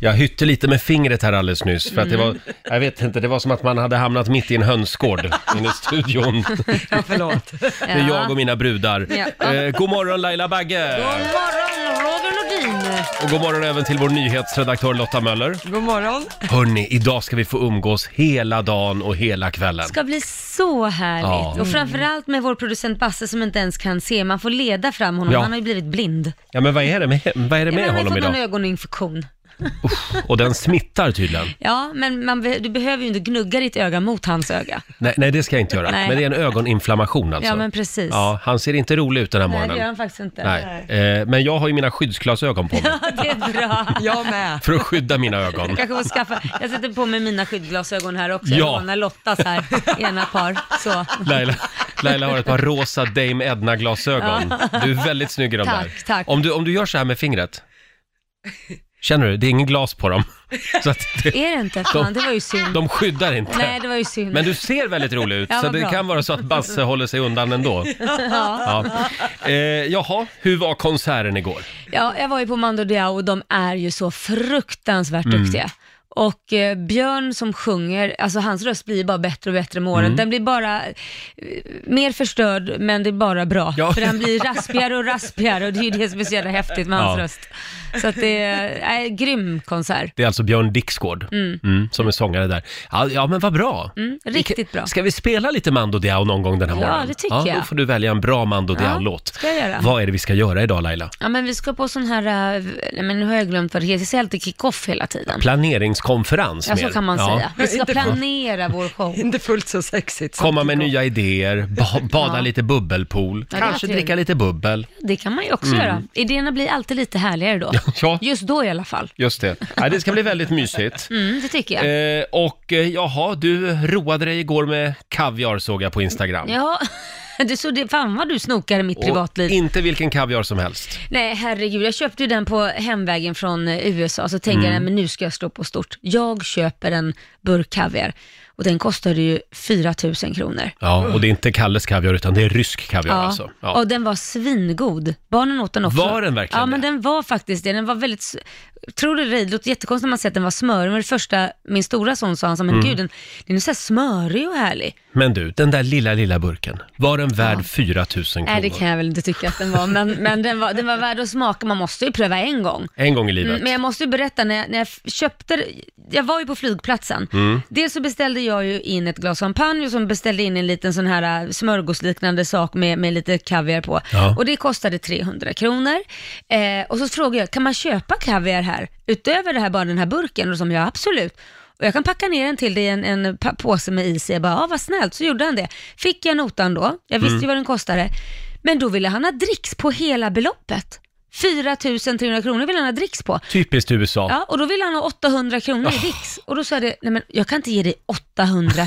Jag hytte lite med fingret här alldeles nyss för att det Mm. var, jag vet inte, det var som att man hade hamnat mitt i en hönsgård inne i studion. Ja, förlåt. Det är jag och mina brudar. Ja. Eh, god morgon Laila Bagge! God morgon, Roger Nordin! Och god morgon även till vår nyhetsredaktör Lotta Möller. God morgon. Hörni, idag ska vi få umgås hela dagen och hela kvällen. Det ska bli så härligt. Ja. Och framförallt med vår producent Basse som inte ens kan se. Man får leda fram honom. Ja. Han har ju blivit blind. Ja, men vad är det med, vad är det Ja, men med han har ju honom fått någon idag? ögoninfektion. Och den smittar tydligen. Ja, men man be- du behöver ju inte gnugga ditt öga mot hans öga. Nej, nej, det ska jag inte göra. Nej. Men det är en ögoninflammation alltså. Ja, men precis. Ja, han ser inte rolig ut den här Nej, det gör morgonen. han faktiskt inte. Nej. Eh, men jag har ju mina skyddsglasögon på mig Ja, det är bra. Jag med. för att skydda mina ögon. Jag kanske får skaffa, jag sätter på mig mina skyddsglasögon här också. Ja. Jag lånar Lottas här, ena par. Så. Laila, Laila har ett par rosa Dame Edna-glasögon. Du är väldigt snygg i de Tack, där. tack. Om, du, om du gör så här med fingret. Känner du? Det är ingen glas på dem. Så att det, Är det inte? Fan, det var ju synd. de skyddar inte. Nej, det var ju synd. Men du ser väldigt rolig ut, Ja, så vad det bra. kan vara så att Basse håller sig undan ändå. Ja. Eh, jaha, hur var konserten igår? Ja, jag var ju på Mando Diao och de är ju så fruktansvärt Mm. duktiga. Och eh, Björn som sjunger, alltså hans röst blir bara bättre och bättre med åren. Mm. Den blir bara eh, mer förstörd, men det är bara bra. Ja. För den blir raspigare och raspigare och det är ju det som är så jävla häftigt med hans Ja. röst. Så att det är en grym konsert. Det är alltså Björn Dixgård mm, som är sångare där. Ja, ja men vad bra. Mm, riktigt bra. Ska vi spela lite Mando Diao någon gång den här Ja, morgonen? det tycker Då jag. får du välja en bra Mando Diao-låt. ska jag göra. Vad är det vi ska göra idag Laila? Ja, men vi ska på sån här, eh, nej, men nu har jag glömt vad det heter, jag säger alltid kick-off hela tiden. Planeringskonferens Ja, så mer. kan man Ja. säga. Vi ska planera vår show. Inte fullt så sexigt. som Komma med Kiko. nya idéer, ba- bada Ja. lite bubbelpool, Ja, det kanske är trevligt. dricka lite bubbel. Det kan man ju också göra. Idéerna blir alltid lite härligare då. Mm. Ja, Just då i alla fall. just det. Ja, det ska bli väldigt mysigt. Mm, det tycker jag. Eh, och eh, jaha, du roade dig igår med kaviar såg jag på Instagram. Ja, du såg det, fan vad du snokar i mitt privatliv. Och inte vilken kaviar som helst. Nej, herregud. Jag köpte ju den på hemvägen från eh, USA, så Mm. tänkte jag, nej, men nu ska jag slå på stort. Jag köper en burk kaviar och den kostade ju 4 000 kronor. Ja, och det är inte Kalles kaviar utan det är rysk kaviar alltså. Ja. och den var svingod. Barnen åt den också. Var den verkligen Ja, men det? den var faktiskt det. Den var väldigt, s- tror du det eller ej, det låter jättekonstigt när man säger att den var smörig, men det första min stora son sa, han sa, men Mm. gud, den, den är så här smörig och härlig. Men du, den där lilla, lilla burken, var den värd 4 000 kronor? Nej, det kan jag väl inte tycka att den var, men, men den, var, den var värd att smaka. Man måste ju pröva en gång. En gång i livet. Mm, Men jag måste ju berätta, när jag, när jag f- köpte, jag var ju på flygplatsen. Dels så beställde jag ju in ett glas champagne och så beställde jag in en liten sån här äh, smörgåsliknande sak med, med lite kaviar på. Ja. Och det kostade 300 kronor. Eh, och så frågade jag, kan man köpa kaviar här? Utöver det här, bara den här burken? Och som jag absolut. Och jag kan packa ner den till dig i en, en pa- påse med is. Jag bara, ja vad snällt. Så gjorde han det. Fick jag notan då, jag visste ju vad den kostade. Men då ville han ha dricks på hela beloppet. 4 300 kronor ville han ha dricks på. Typiskt USA. Ja, och då ville han ha 800 kronor Ah. i dricks. Och då sa jag, det, nej men jag kan inte ge dig 800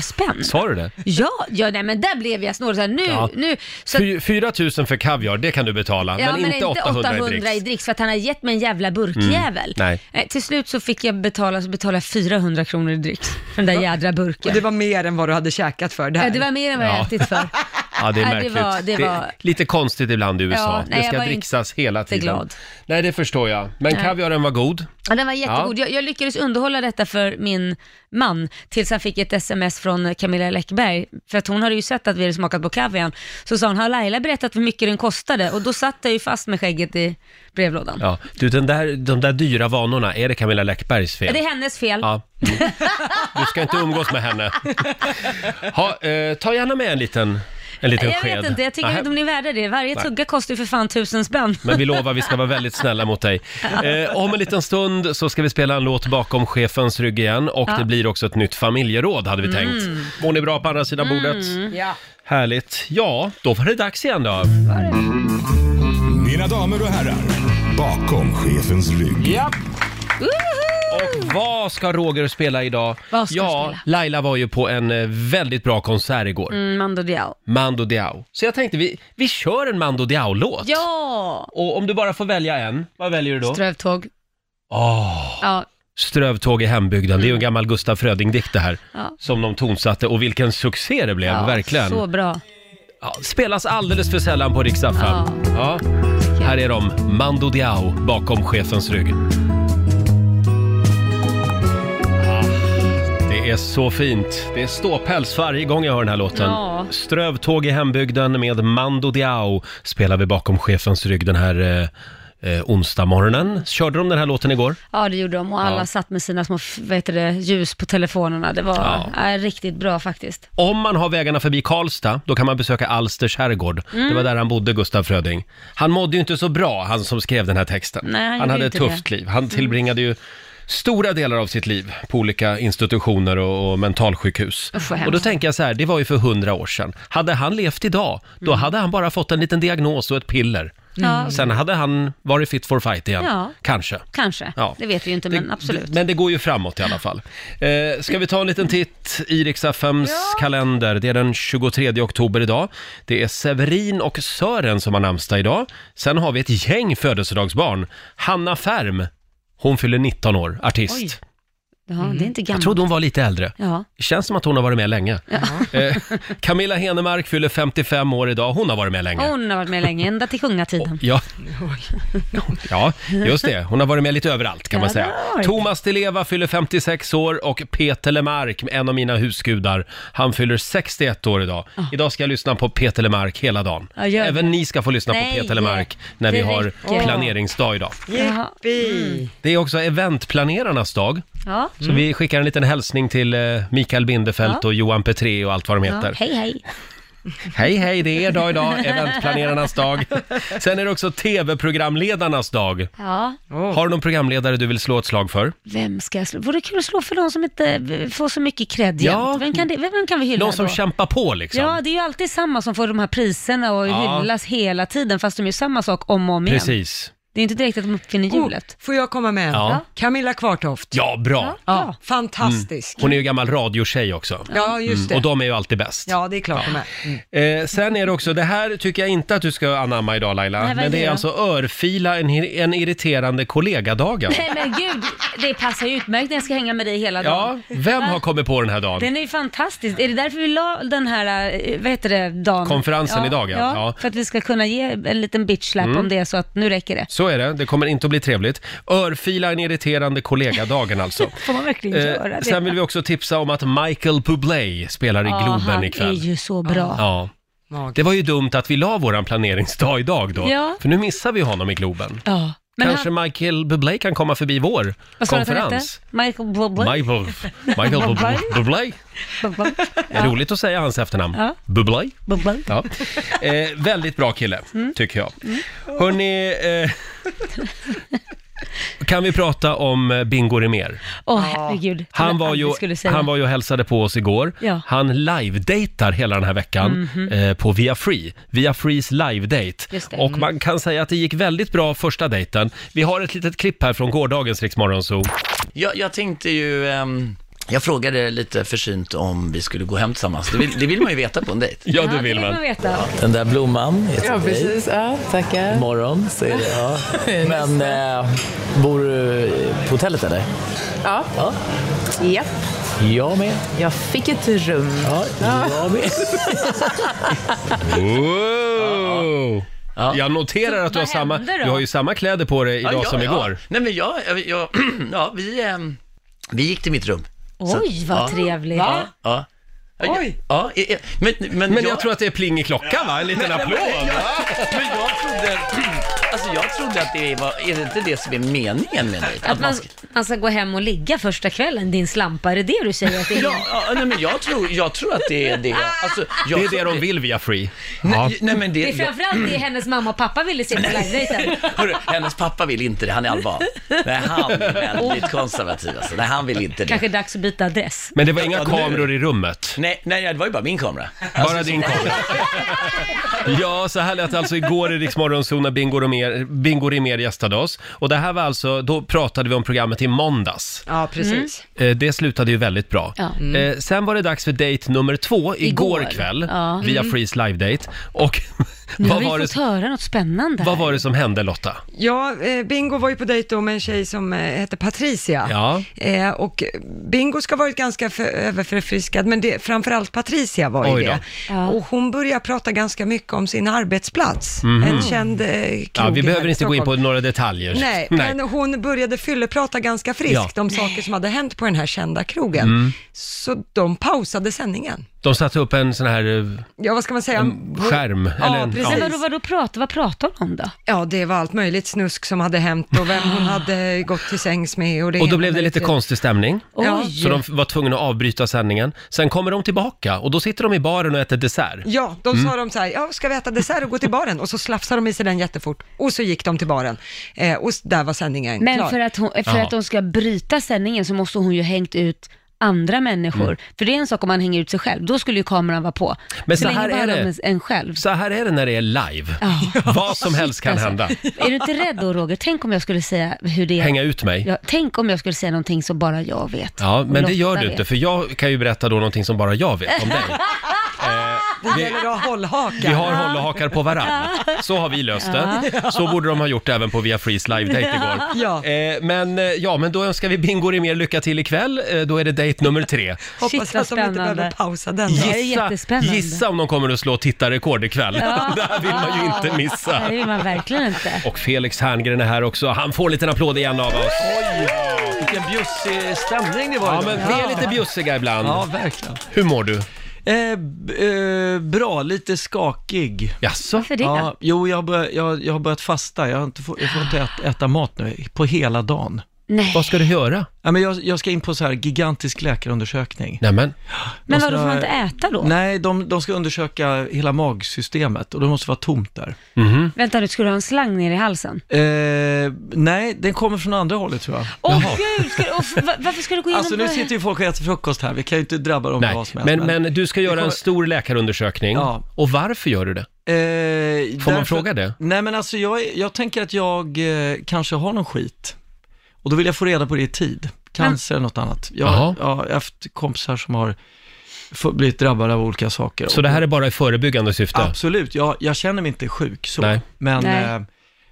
spänn. Sa du det? Ja, ja, nej men där blev jag snårig. Så här, Nu, Ja. nu. Så att- Fy- 4 000 för kaviar, det kan du betala, Ja, men, inte 800, i dricks. i dricks för att han har gett mig en jävla burkjävel. nej. Eh, Till slut så fick jag betala, så betalade jag 400 kronor i dricks för den där jädra burken. Och Det det var, var mer än vad du hade käkat för det här. ja, det var mer än vad jag Ja. ätit för. Ja, det är Nej, det märkligt. var- det var- är lite konstigt ibland i USA. Ja, nej, det jag ska var inte dricksas hela tiden. glad. Nej, det förstår jag. Men kaviaren var god. Ja, den var jättegod. Jag, jag lyckades underhålla detta för min man tills han fick ett sms från Camilla Läckberg. För att hon hade ju sett att vi hade smakat på kaviarn. Så sa hon, har Laila berättat hur mycket den kostade? Och då satt jag ju fast med skägget i brevlådan. Ja. Du, den där, de där dyra vanorna, är det Camilla Läckbergs fel? Det är hennes fel. Ja. Mm. Du ska inte umgås med henne. Ha, eh, ta gärna med en liten, en liten jag sked. vet inte, jag tycker Nähä. inte om ni är värda det. Varje tugga kostar ju för fan tusen spänn. Men vi lovar, vi ska vara väldigt snälla mot dig. Eh, om en liten stund så ska vi spela en låt bakom chefens rygg igen och det blir också ett nytt familjeråd hade vi Mm. tänkt. Mår ni bra på andra sidan bordet? Ja. Härligt. Ja, då var det dags igen då. Mina damer och herrar, bakom chefens rygg. Ja. Woho! Och vad ska Roger spela idag? Vad ska ja, jag spela? Laila var ju på en eh, väldigt bra konsert igår. Mm, Mando Diao. Mando Diao. Så jag tänkte, vi, vi kör en Mando Diao-låt. Ja! Och om du bara får välja en, vad väljer du då? Ah. Strövtåg. Åh, Ja, Strövtåg i hembygden, det är ju en gammal Gustaf Fröding-dikt det här. Mm. Ja. Som de tonsatte och vilken succé det blev, ja, verkligen. Så bra. Ja, spelas alldeles för sällan på riksdagen. Ja. Ja. Här är de, Mando Diao, bakom chefens rygg. Ah, Det är så fint. Det är ståpäls varje gång jag hör den här låten. Ja. Strövtåg i hembygden med Mando Diao spelar vi bakom chefens rygg den här eh, eh, onsdag morgonen. Körde de den här låten igår? Ja, det gjorde de och alla Ja. satt med sina små f- vad heter det, ljus på telefonerna. Det var Ja. ja. riktigt bra faktiskt. Om man har vägarna förbi Karlstad, då kan man besöka Alsters herrgård. Mm. Det var där han bodde, Gustaf Fröding. Han mådde ju inte så bra, han som skrev den här texten. Nej, han han gjorde hade ett inte tufft det. Mm. liv. Han tillbringade ju stora delar av sitt liv på olika institutioner och, och mentalsjukhus. Usch, vad och då hemskt. tänker jag så här, det var ju för hundra år sedan. Hade han levt idag, då hade han bara fått en liten diagnos och ett piller. Mm. Ja. Sen hade han varit fit for fight igen, Ja. kanske. Kanske, Ja. det vet vi ju inte men absolut. Det, Mm. men det går ju framåt i alla fall. Eh, ska vi ta en liten titt i Rix FMs kalender? Det är den 23 oktober idag. Det är Severin och Sören som har namnsdag idag. Sen har vi ett gäng födelsedagsbarn. Hanna Färm, hon fyller 19 år, artist. Oj. Ja, det är inte Jag gammalt. trodde hon var lite äldre. Ja. Det känns som att hon har varit med länge. Eh, Camilla Henemark fyller 55 år idag. Hon har varit med länge. Hon har varit med länge, ända till kungatiden. Ja. ja, just det. Hon har varit med lite överallt kan man Ja, säga. det har varit. Thomas Di Leva fyller 56 år och Peter Lemark, en av mina husgudar, han fyller 61 år idag. Idag ska jag lyssna på Peter Lemark hela dagen. Ah. Ja, gör det. Även ni ska få lyssna Nej, på Peter Lemark när vi det har räcker. planeringsdag idag. Jippi! Mm. Det är också eventplanerarnas dag. Ja. Så vi skickar en liten hälsning till eh, Mikael Bindefeld Mm. Ja. och Johan Petré och allt vad de heter. ja. Hej, hej. Hej, hej, det är er dag idag, eventplanerarnas dag. Sen är det också tv-programledarnas dag. Ja, Har du någon programledare du vill slå ett slag för? vem ska jag slå? Vore kul att slå för någon som inte eh, får så mycket cred Ja. jämt. vem, kan det, vem kan vi hylla Någon som då? kämpar på liksom? Ja, det är ju alltid samma som får de här priserna och Ja. hyllas hela tiden, fast de gör samma sak om och om igen. Precis. Oh. Det är inte direkt att de uppfinner hjulet. Oh, Får jag komma med? Ja. Camilla Kvartoft. Ja, bra. Ja, fantastisk. Hon är ju gammal radiotjej också. Mm, Ja, just det. och de är ju alltid bäst. Ja, det är klart de är. Mm. Eh, sen är det också, det här tycker jag inte att du ska anamma idag Laila, Nej, vad är men det det är då? alltså örfila en, hi- en irriterande kollegadagen. Nej men gud, det passar ju utmärkt när jag ska hänga med dig hela Ja, dagen. vem har kommit på den här dagen? Den är ju fantastisk. Är det därför vi la den här, eh, vad heter det, dagen? Konferensen ja, idag, ja. ja. Ja. Mm. För att vi ska kunna ge en liten bitchlap om det är så att nu räcker det. Så är det, det kommer inte att bli trevligt. Örfila en irriterande kollegadagen alltså. Får man verkligen göra Eh, det? sen vill vi också tipsa om att Michael Bublé spelar i Ja, Globen han är ikväll. ju så bra. Ja. Det Magiskt. var ju dumt att vi la våran planeringsdag idag då, Ja. för nu missar vi honom i Globen. Ja. Men Kanske han, Michael Bublé kan komma förbi vår vad sa du att han hette? konferens. Michael Bublé? Michael, Michael Bublé. Bublé. Bublé? Är Roligt att säga hans efternamn. Ja. Bublé. Bublé? Ja. Eh, väldigt bra kille, Mm. tycker jag. Hörni, eh, kan vi prata om eh, Bingo Rimér? Åh herregud. Han var, ju, han var ju och hälsade på oss igår. Ja. Mhm. Han live-datar hela den här veckan eh, på Via Free. Via Frees live-date. Just det. Och man kan säga att det gick väldigt bra första dejten. Vi har ett litet klipp här från gårdagens Riksmorgonzoo. Jag, jag tänkte ju, ehm, jag frågade lite försynt om vi skulle gå hem tillsammans. Det vill, det vill man ju veta på en dejt. Ja, Ja, du vill man. väl? veta. Den där blomman är till Ja, dig. precis. Ja, tackar. Imorgon så är det, ja. Men eh, bor du på hotellet eller? Ja. Ja. Japp. Jag med. Jag fick ett rum. Ja, jag med. Wow. Ja. Jag noterar att du har, vad samma, hände då? du har ju samma kläder på dig idag ja, som ja. igår. Nej men jag, jag, jag ja, vi, ehm, vi gick till mitt rum. Så- Oj, vad ja. trevligt. Ja. Oj. Ja, ja, ja, men, men, Men jag tror att det är pling i klockan va? En liten applåd. Men jag trodde, alltså jag trodde att det var, är det inte det som är meningen med dejt? Att man, ska- man ska gå hem och ligga första kvällen, din slampa, är det det du säger att det är? Ja, ja nej, men jag tror, jag tror att det är det. Alltså, jag Det är tror det de vill via Free. Ja. Nej, nej, men det, Det är framförallt det hennes mamma och pappa ville se på live-dejten. jag- hörru, hennes pappa vill inte det, han är alban. Nej, han är väldigt konservativ alltså. Nej, han vill inte det. Kanske dags att byta adress. Men det var inga Ja, nu- kameror i rummet. Nej, nej, det var ju bara min kamera. Bara din kamera. Alltså, Ja, så här lät det alltså igår i Rix Morgonzoo när Bingo Rimér- Bingo Rimér gästade oss. Och det här var alltså, då pratade vi om programmet i måndags. Ja, precis. Eh, Det slutade ju väldigt bra. Ja. Mm. Eh, Sen var det dags för date nummer två igår, Igår. kväll, Ja. Mm. via Freeze Live Date. Och Nu har Vad var vi det fått höra något spännande Vad här. var det som hände Lotta? Ja, eh, Bingo var ju på dejt då med en tjej som eh, hette Patricia. Ja. Eh, och Bingo ska ha varit ganska för, överförfriskad, men det, framförallt Patricia var Oj ju då. det. Ja. Och hon börjar prata ganska mycket om sin arbetsplats. En känd eh, krog Mhm. Ja, vi här behöver i inte gå in på Stockholm. några detaljer. Nej, men hon började fylleprata ganska friskt om saker som hade hänt på den här kända krogen. Mm. Så de pausade sändningen. De satte upp en sån här eh, Ja, vad ska man säga? skärm. Ja, eller en, precis. Men vadå, vadå prata, vad pratar de om då? Ja, det var allt möjligt snusk som hade hänt och vem hon hade gått till sängs med. Och, det Ah. Och ena då blev det med lite konstig stämning. Ja. Oj! Så de var tvungna att avbryta sändningen. Sen kommer de tillbaka och då sitter de i baren och äter dessert. Ja, då sa Mm. de så här, ja, ska vi äta dessert och gå till baren? Och så slafsade de i sig den jättefort. Och så gick de till baren. Eh, och s- där var sändningen Men klar. för att, hon, för Jaha. att de ska bryta sändningen så måste hon ju hängt ut andra människor. För det är en sak om man hänger ut sig själv, då skulle ju kameran vara på. Mm. Men så länge här det är handlar det. om en- en själv. Så här är det när det är live. Ja. Vad som helst kan Alltså, hända. Är du inte rädd då Roger? Tänk om jag skulle säga hur det är. Hänga ut mig. Ja, tänk om jag skulle säga någonting som bara jag vet. Ja, men Lotta det gör du vet. inte, för jag kan ju berätta då någonting som bara jag vet om dig. det gäller att ha hållhakar. Vi har hållhakar på varann. Så har vi löst det. Så borde de ha gjort även på Via Freeze live-date igår. Ja. Eh, Men, eh, ja, men då önskar vi Bingo mer lycka till ikväll. Eh, Då är det dejt nummer tre. Shit, Hoppas vad att de inte behöver spännande. pausa den. Ja, det är jättespännande. gissa om de kommer att slå tittarrekord ikväll. Det här vill man ju inte missa. Nej, det vill man verkligen inte. Och Felix Herngren är här också. Han får en liten applåd igen av oss. Vilken bjussig stämning det var Ja, idag. men vi är lite bjussiga ibland. Ja, verkligen. Hur mår du? Eh, b- eh, bra, lite skakig. Jaså? För det? Ja, jo, jag har, börjat, jag, jag har börjat fasta. Jag, har inte få, jag får inte äta, äta mat nu på hela dagen. Nej. Vad ska du göra? Ja, men jag, jag ska in på så här gigantisk läkarundersökning. Nämen, Men de vadå, ska- får man inte äta då? Nej, de, de ska undersöka hela magsystemet och det måste vara tomt där. Vänta nu, ska du ha en slang ner i halsen? Eh, nej, den kommer från andra hållet tror jag. Åh gud, ska, du- åh, va- varför ska du gå igenom Alltså nu sitter ju folk och äter frukost här, vi kan ju inte drabba dem med nej. vad som helst. eh, Men, men du ska göra en kommer- stor läkarundersökning. Ja. Och varför gör du det? Eh, Får man fråga det? Nej men alltså jag, är- jag tänker att jag eh, kanske har någon skit. Och då vill jag få reda på det i tid. Cancer eller något annat. Jag, Jaha. ja, jag har haft kompisar som har få- blivit drabbade av olika saker. Så det här är bara i förebyggande syfte? Absolut, jag, jag känner mig inte sjuk så. Nej. Men Nej. Eh,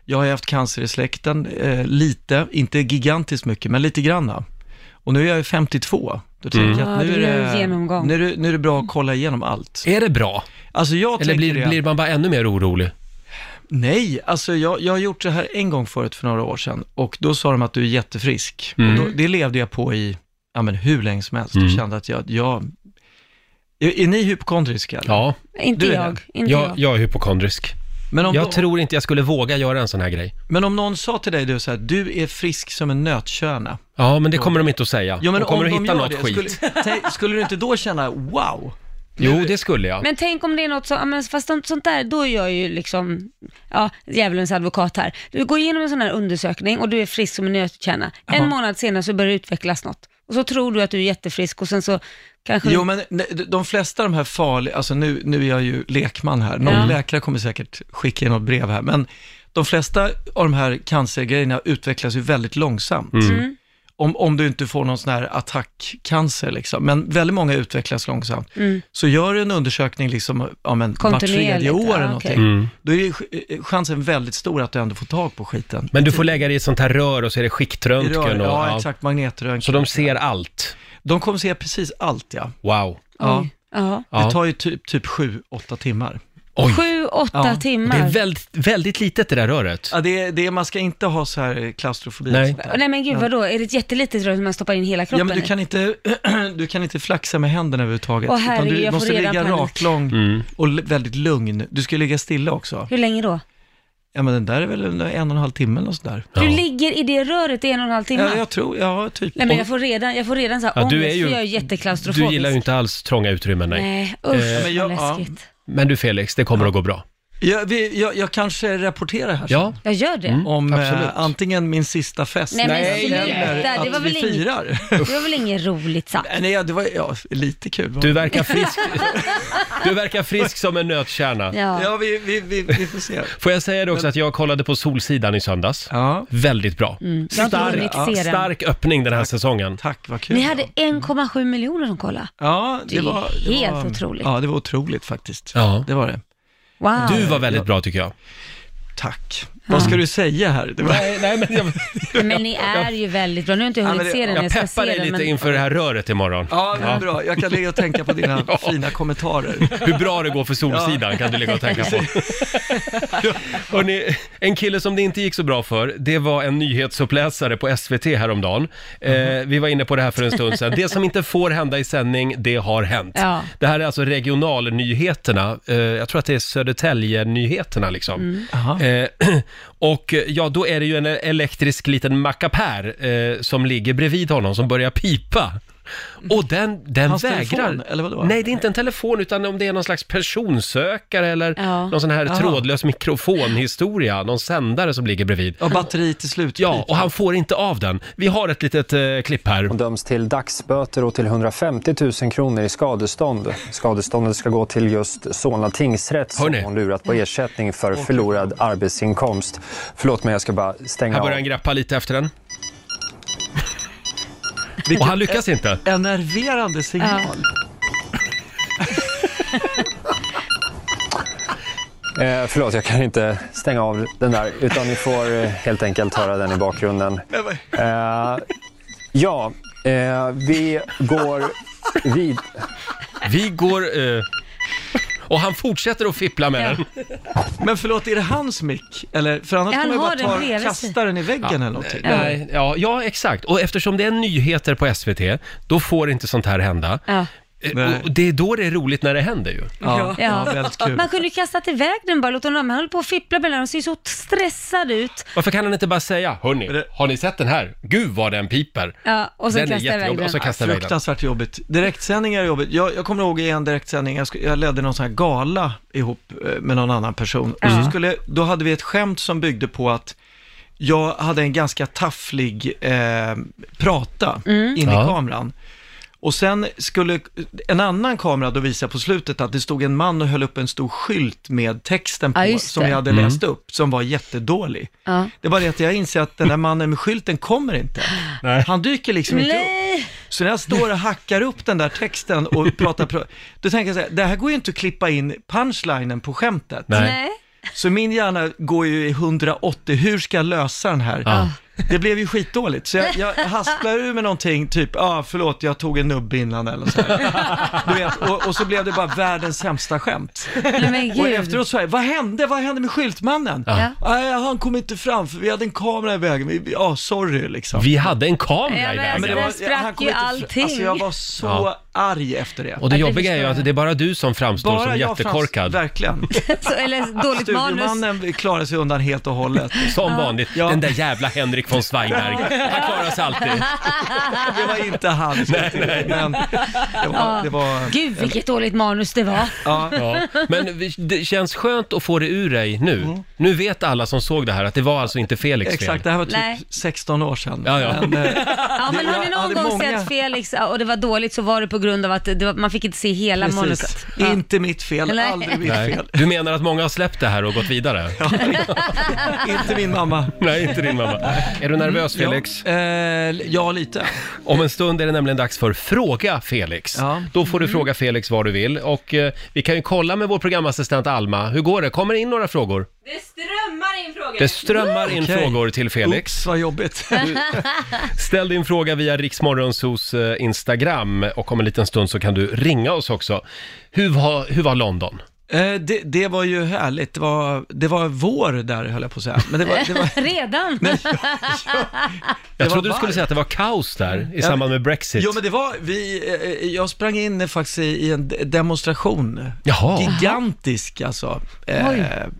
jag har ju haft cancer i släkten, eh, lite, inte gigantiskt mycket, men lite granna. Och nu är jag ju 52. Då tänker Mm. jag Ja, att nu du är, gör en det, genomgång. nu, är det, nu är det bra att kolla igenom allt. Är det bra? Alltså jag Eller tänker blir, det. blir man bara ännu mer orolig? Nej, alltså jag, jag har gjort det här en gång förut för några år sedan och då sa de att du är jättefrisk. Mm. Och då, det levde jag på i ja, men hur länge som helst Mm. och kände att jag, jag är, är ni hypokondriska? eller? Ja, Inte Du är jag, inte jag. jag, jag är hypokondrisk. Men, om Jag någon, tror inte jag skulle våga göra en sån här grej. men om någon sa till dig du, så här, du är frisk som en nötkärna. Ja, men det kommer de inte att säga. Jo, men de kommer om att de hitta gör något det, skit. Skulle, tänk- skulle du inte då känna wow? Jo, det skulle jag. Men tänk om det är något som, ja, men fast sånt- sånt där, då är jag ju liksom, ja, djävulens advokat här. Du går igenom en sån här undersökning och du är frisk som en nötkärna. En månad senare så börjar det utvecklas något. Och så tror du att du är jättefrisk och sen så kanske... Jo, men ne- de flesta av de här farliga, alltså nu, nu är jag ju lekman här, någon Ja. läkare kommer säkert skicka in något brev här, men de flesta av de här cancergrejerna utvecklas ju väldigt långsamt. Om, om du inte får någon sån här attackcancer, liksom. men väldigt många utvecklas långsamt. Så gör du en undersökning liksom, ja, men, vart tredje Kontinuerligt, år ja, eller okej. någonting, då är ju ch- eh, chansen väldigt stor att du ändå får tag på skiten. Men du får lägga dig i ett sånt här rör och så är det I skiktröntgen. rör, Och, ja, ja. exakt, magnetröntgen. Så de ser allt. de kommer se precis allt, ja. Wow. ja. Ja. Ja. Det tar ju typ, typ sju, åtta timmar. Oj. Sju, åtta Ja, Det timmar. är väldigt, väldigt litet det där röret. Ja, det, är- det, är- man ska inte ha så här klaustrofobi. Nej. Och sånt där. Nej men gud vadå, är det ett jättelitet rör som man stoppar in hela Ja, kroppen men du i? kan, inte, du kan inte flaxa med händerna överhuvudtaget. Åh, herregud, du jag får måste redan ligga panik. raklång Mm. och l- väldigt lugn. Du ska ligga stilla också. Hur länge då? Ja, men den där är väl en och en och en halv timme eller något sånt där. Du Ja. ligger i det röret i en och en halv timme? Ja, jag tror, ja, typ. Nej men jag får redan, jag får redan så här Ja, ångest, du är för ju- jag är jätteklaustrofobisk. Du gillar ju inte alls trånga utrymmen, nej. Nej, usch Eh, men jag- vad ja. läskigt. Men du Felix, det kommer att gå bra. Jag, vi, jag, jag kanske rapporterar här Ja, Jag gör det. Mm. sen. Om absolut. eh, antingen min sista fest Nej, men sluta. eller Det var väl att vi inget- firar. Det var väl inget roligt sagt? Nej, ja, det var ja, lite kul. du verkar frisk. Du verkar frisk som en nötkärna. Ja. Ja, vi, vi, vi, vi får se. Får jag säga det också att jag kollade på Solsidan i söndags. Ja, Väldigt bra. jag har inte hunnit se den. stark öppning den här säsongen. tack, vad kul. Ni hade 1,7 miljoner som kollade. Ja, Det det, är var... helt var, otroligt. Ja, det var otroligt faktiskt. Ja. Det var det. Wow. Du var väldigt bra tycker jag. Tack. Vad ska du säga här? Det var... Nej, nej men jag, Men ni är ju väldigt bra. Nu har jag inte Ja, hunnit men se det- den, jag jag ska se peppar dig den. lite Men... inför det här röret imorgon. Ja, men bra. Jag kan ligga och tänka på dina fina kommentarer. Hur bra det går för Solsidan kan du ligga och tänka på. Hörrni, en kille som det inte gick så bra för, det var en nyhetsuppläsare på SVT häromdagen. Eh, vi var inne på det här för en stund sedan. Det som inte får hända i sändning, det har hänt. Ja. Det här är alltså regionalnyheterna. Eh, jag tror att det är Södertälje-nyheterna liksom. Aha. Eh, och eh, ja, då är det ju en elektrisk liten mackapär eh, som ligger bredvid honom som börjar pipa. Och den, den Hans vägrar... telefon, eller vadå? Nej, det är inte en telefon utan om det är någon slags personsökare eller Ja. någon sån här Aha. trådlös mikrofonhistoria, någon sändare som ligger bredvid. Ja, batteri till slut. Ja, och han får inte av den. Vi har ett litet eh, klipp här. och döms till dagsböter och till 150 000 kronor i skadestånd. Skadeståndet ska gå till just Solna tingsrätt som Hörrni. hon lurat Mm. på ersättning för förlorad arbetsinkomst. Förlåt men jag ska bara stänga Här av. börjar han greppa lite efter den. Vilken Och han lyckas inte. enerverande signal. Eh, förlåt, jag kan inte stänga av den där utan ni får eh, helt enkelt höra den i bakgrunden. Eh, ja, eh, vi går vid... Vi går... Eh, och han fortsätter att fippla med den. Men förlåt, är det hans mick? Eller, för annars Ja, kan han man har ju den bara ta, bredvid sig. kasta den i väggen eller någonting. Nej, ja, ja, exakt. Och eftersom det är nyheter på SVT, då får inte sånt här hända. Ja. Eh, Och det är då det är roligt när det händer ju. Ja, ja. Ja. väldigt kul. Man kunde ju kastat iväg den bara, låt honom, han höll på att fippla med den, han ser ju så stressad ut. Varför kan han inte bara säga, hörni, har ni sett den här? Gud vad den piper. Ja, och sen den är kasta iväg jättejobbig. den. Och så kastar iväg den. Fruktansvärt jobbigt. Direktsändningar är jobbigt. Jag, jag kommer ihåg i en direktsändning, jag, sk- jag ledde någon sån här gala ihop eh, med någon annan person. Och så skulle, då hade vi ett skämt som byggde på att jag hade en ganska tafflig eh, prata Mm. in i Ja. kameran. Och sen skulle en annan kamera då visa på slutet att det stod en man och höll upp en stor skylt med texten på, Ja, just som det. Mm. jag hade läst upp, som var jättedålig. Ja. Det var det att jag inser att den där mannen med skylten kommer inte. Han dyker liksom inte upp. Nej! Så när jag står och hackar upp den där texten och pratar, pro- då tänker jag så här, det här går ju inte att klippa in punchlinen på skämtet. Nej. Nej. Så min hjärna går ju i 180, hur ska jag lösa den här? Ja. Det blev ju skitdåligt, så jag, jag hasplar ur med någonting, typ, ja ah, förlåt jag tog en nubbe innan eller så här. Du vet, och, och så blev det bara världens sämsta skämt. Nej, men Och gud. efteråt så här, vad hände, vad hände med skyltmannen? Ja. Nej, han kom inte fram för vi hade en kamera i vägen, Vi- vi- ja sorry liksom. Vi hade en kamera Ja, i men vägen. alltså, Men det Där sprack han kom ju inte fr- allting. Alltså jag var så Ja. arg efter det. Och det Ja, det jobbiga är ju förstår att jag. det är bara du som framstår som jättekorkad. Fanns, verkligen. Så, eller dåligt manus. Studiomannen klarade sig undan helt och hållet. Som vanligt. Ja. Den där jävla Henrik von Zweigbergk. Han klarar sig alltid. Det var inte han. Nej, Men det var... Det var Gud vilket dåligt manus det var. ja. Ja. Men vi- det känns skönt att få det ur dig nu. Nu vet alla som såg det här att det var alltså inte Felix fel. Mm. Exakt, det här var typ Nej. 16 år sedan. Ja, ja. Men, eh, Ja, men Det- har ni jag någon hade gång många- sett Felix och det var dåligt så var det på grund av att det var, man fick inte se hela precis. manuset. Ja. Inte mitt fel, Nej. aldrig mitt Nej. fel. Du menar att många har släppt det här och gått vidare? Inte min mamma. Nej, inte din mamma. Är du nervös Felix? Ja, eh, ja lite. Om en stund är det nämligen dags för Fråga Felix. Ja. Mm. Då får du fråga Felix vad du vill. Och eh, vi kan ju kolla med vår programassistent Alma. Hur går det? Kommer det in några frågor? Det strömmar in frågor. Det strömmar in Okej. frågor till Felix. Oops, vad jobbigt. Eh, Ställ din fråga via Riksmorgonsos eh, Instagram och om en liten stund så kan du ringa oss också. Hur var, hur var London? Eh, det, det var ju härligt. Det var, det var vår där, höll jag på att säga. Men det var, det var, Redan? Jag var trodde du skulle varmt. säga att det var kaos där i samband med Brexit. Jo men det var, vi, eh, jag sprang in faktiskt i- i en de- demonstration. Jaha. Gigantisk alltså, eh,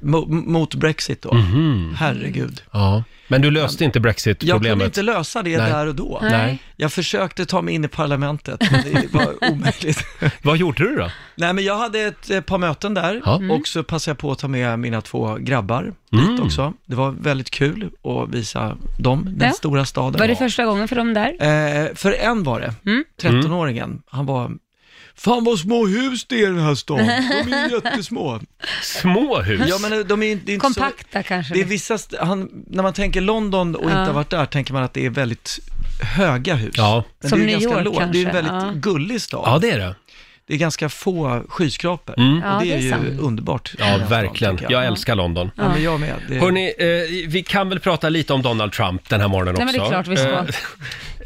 mo- mot Brexit då. Mhm. Herregud. Ja. Men du löste inte Jag kunde Brexit-problemet? inte lösa det Nej. där och då. Nej. Jag försökte ta mig in i parlamentet, men det var omöjligt. Vad gjorde du då? Nej men jag hade ett eh, par möten där Ja. Mm. och så passade jag på att ta med mina två grabbar Mm. dit också. Det var väldigt kul att visa dem, den Ja. stora staden. Var det första gången för dem där? Eh, för en var det, Mm. 13-åringen, han var Fan vad små hus det är i den här stan, de är jättesmå. Små hus? Ja men eh, de är, det är inte Kompakta så... kanske? Det är vissa, st- han, när man tänker London och inte Ja. har varit där, tänker man att det är väldigt höga hus. Ja. Men Som det är ju New ganska York Det är ju en kanske, väldigt ja. gullig stad. ja, det är det. det är ganska få skyskrapor. Ja, Och det det är är ju sant. underbart. Ja, verkligen. tycker Jag älskar London. Ja, men jag med. Det... Hörni, eh, vi kan väl prata lite om Donald Trump den här morgonen också? Nej, men det är klart vi ska.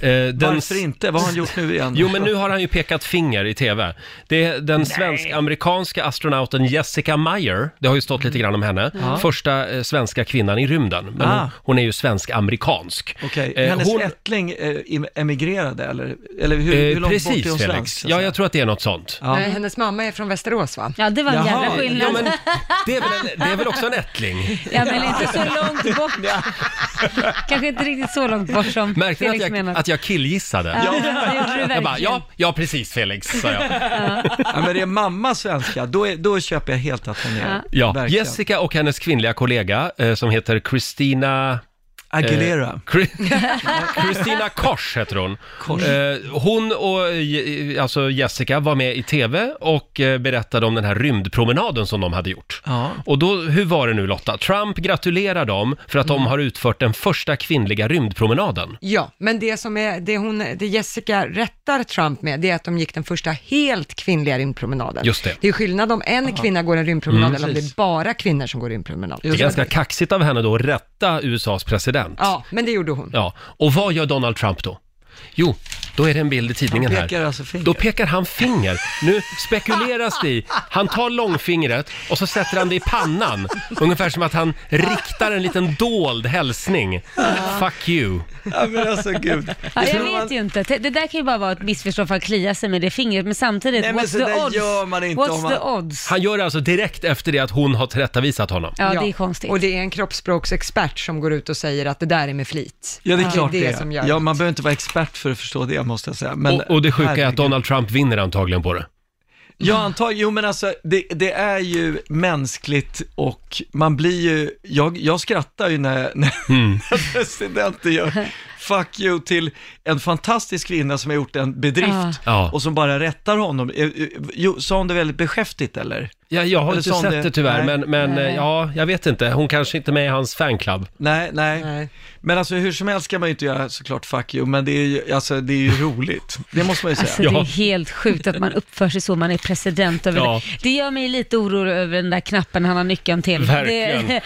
Eh, eh, den... Varför inte? Vad har han gjort nu igen? Jo, men nu har han ju pekat finger i TV. Det är den svensk-amerikanska astronauten Jessica Meyer, det har ju stått lite grann om henne, Mm. första eh, svenska kvinnan i rymden. Men Ah. hon, hon är ju svensk-amerikansk. Okej, Eh, hennes hon- ättling eh, im- emigrerade eller, eller hur, eh, hur långt precis, bort är hon Felix. svensk? så att ja, säga? jag tror att det är något sånt. Ja. Nej, hennes mamma är från Västerås va? Ja, det var en Jaha. jävla skillnad. Ja, men det är väl, en, det är väl också en ättling? Ja, men inte så långt bort. Kanske inte riktigt så långt bort som Märkte ni Felix att jag, menar. att jag killgissade? Ja, det gjorde du Jag bara, verkligen. ja, ja precis Felix, sa jag. Ja, men det är mamma svenska, då, är, då köper jag helt att hon är Ja, verkligen. Jessica och hennes kvinnliga kollega eh, som heter Christina... eh, Aguilera. Chri- Christina Kors heter hon. Eh, hon och eh, Je- alltså Jessica var med i TV och eh, berättade om den här rymdpromenaden som de hade gjort. Ja. Och då, hur var det nu Lotta? Trump gratulerar dem för att de har utfört den första kvinnliga rymdpromenaden. Ja, men det som är, det, hon, det Jessica rättar Trump med, det är att de gick den första helt kvinnliga rymdpromenaden. Just det. Mm. Det är skillnad om en kvinna går en rymdpromenad eller om det Precis. är bara kvinnor som går rymdpromenad. Det är ganska kaxigt av henne då att rätta USAs president. Ja, men det gjorde hon. Ja, och vad gör Donald Trump då? Jo, då är det en bild i tidningen Han pekar här. alltså finger. Då pekar han finger. Nu spekuleras det i. Han tar långfingret och så sätter han det i pannan. Ungefär som att han riktar en liten dold hälsning. Fuck you. Ja, men alltså gud. Ja, jag Tror vet man- ju inte. Det det där kan ju bara vara ett missförstånd för att klia sig med det fingret, men samtidigt, Nej, men what's så the där odds? gör man inte what's om man- the odds? Han gör det alltså direkt efter det att hon har tillrättavisat honom. Ja, det är konstigt. Och det är en kroppsspråksexpert som går ut och säger att det där är med flit. Ja, det är klart det det. är som gör ja, det. man behöver inte vara expert för att förstå det, måste jag säga. Men, Och, och det sjuka är att herregud. Donald Trump vinner antagligen på det. Ja, antagligen. Jo, men alltså, det, det är ju mänskligt och man blir ju... Jag, jag skrattar ju när, när, Mm. när presidenten gör fuck you till en fantastisk kvinna som har gjort en bedrift Ja. och som bara rättar honom. Eh, eh, Jo, sa hon det väldigt beskäftigt, eller? Ja, jag har Eller inte sa hon sett det? det tyvärr, Nej. men, men eh, ja, jag vet inte. Hon kanske inte är med i hans fanclub. Nej, nej, Nej. Men alltså hur som helst kan man ju inte göra såklart fuck you, men det är ju, alltså, det är ju roligt. Det måste man ju säga. Alltså det Ja. är helt sjukt att man uppför sig så, man är president över Ja. det. Det gör mig lite orolig över den där knappen han har nyckeln till. Verkligen. Mm.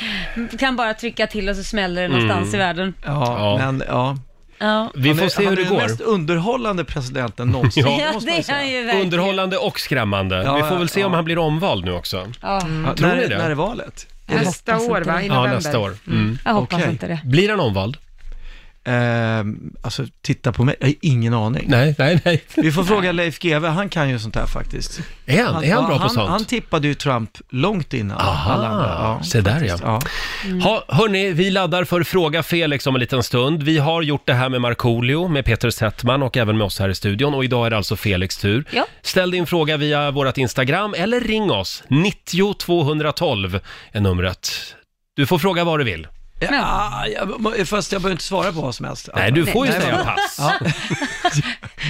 Det, kan bara trycka till och så smäller det någonstans i världen. Ja, Ja. men ja. Ja, Vi Han får är- se hur det Han är den går. mest underhållande presidenten någonsin. ja måste man ju det är säga. han ju verkligen. Underhållande och skrämmande. Ja, Vi får väl se om ja. han blir omvald nu också. Ja, Ja, Tror när, ni det? När är valet? Nästa hoppas år inte va? det. I Ja, november. nästa år. Mm. jag hoppas Okej. inte det. Blir han omvald? Ehm, alltså, titta på mig. Jag har ingen aning. Nej, nej, nej. Vi får fråga Leif GW, han kan ju sånt här faktiskt. Är han, är han bra ja, på sånt? Han tippade ju Trump långt innan Aha, alla andra. Ja, se där ja. faktiskt. ja. Ha, hörni, vi laddar för Fråga Felix om en liten stund. Vi har gjort det här med Markoolio, med Peter Settman och även med oss här i studion. Och idag är det alltså Felix tur. Ja. Ställ din fråga via vårt Instagram eller ring oss. 90 212 är numret. Du får fråga vad du vill. Ja, jag, fast jag behöver inte svara på vad som helst. Nej, du får ju Nej, säga vad- pass. Ja.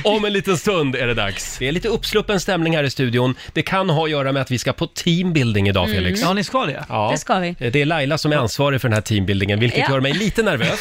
Om en liten stund är det dags. Det är lite uppsluppen stämning här i studion. Det kan ha att göra med att vi ska på teambuilding idag, Felix. ja, ni ska det? Ja, Mm. Det ska vi. Det är Laila som är ansvarig för den här teambuildingen, vilket Ja. gör mig lite nervös.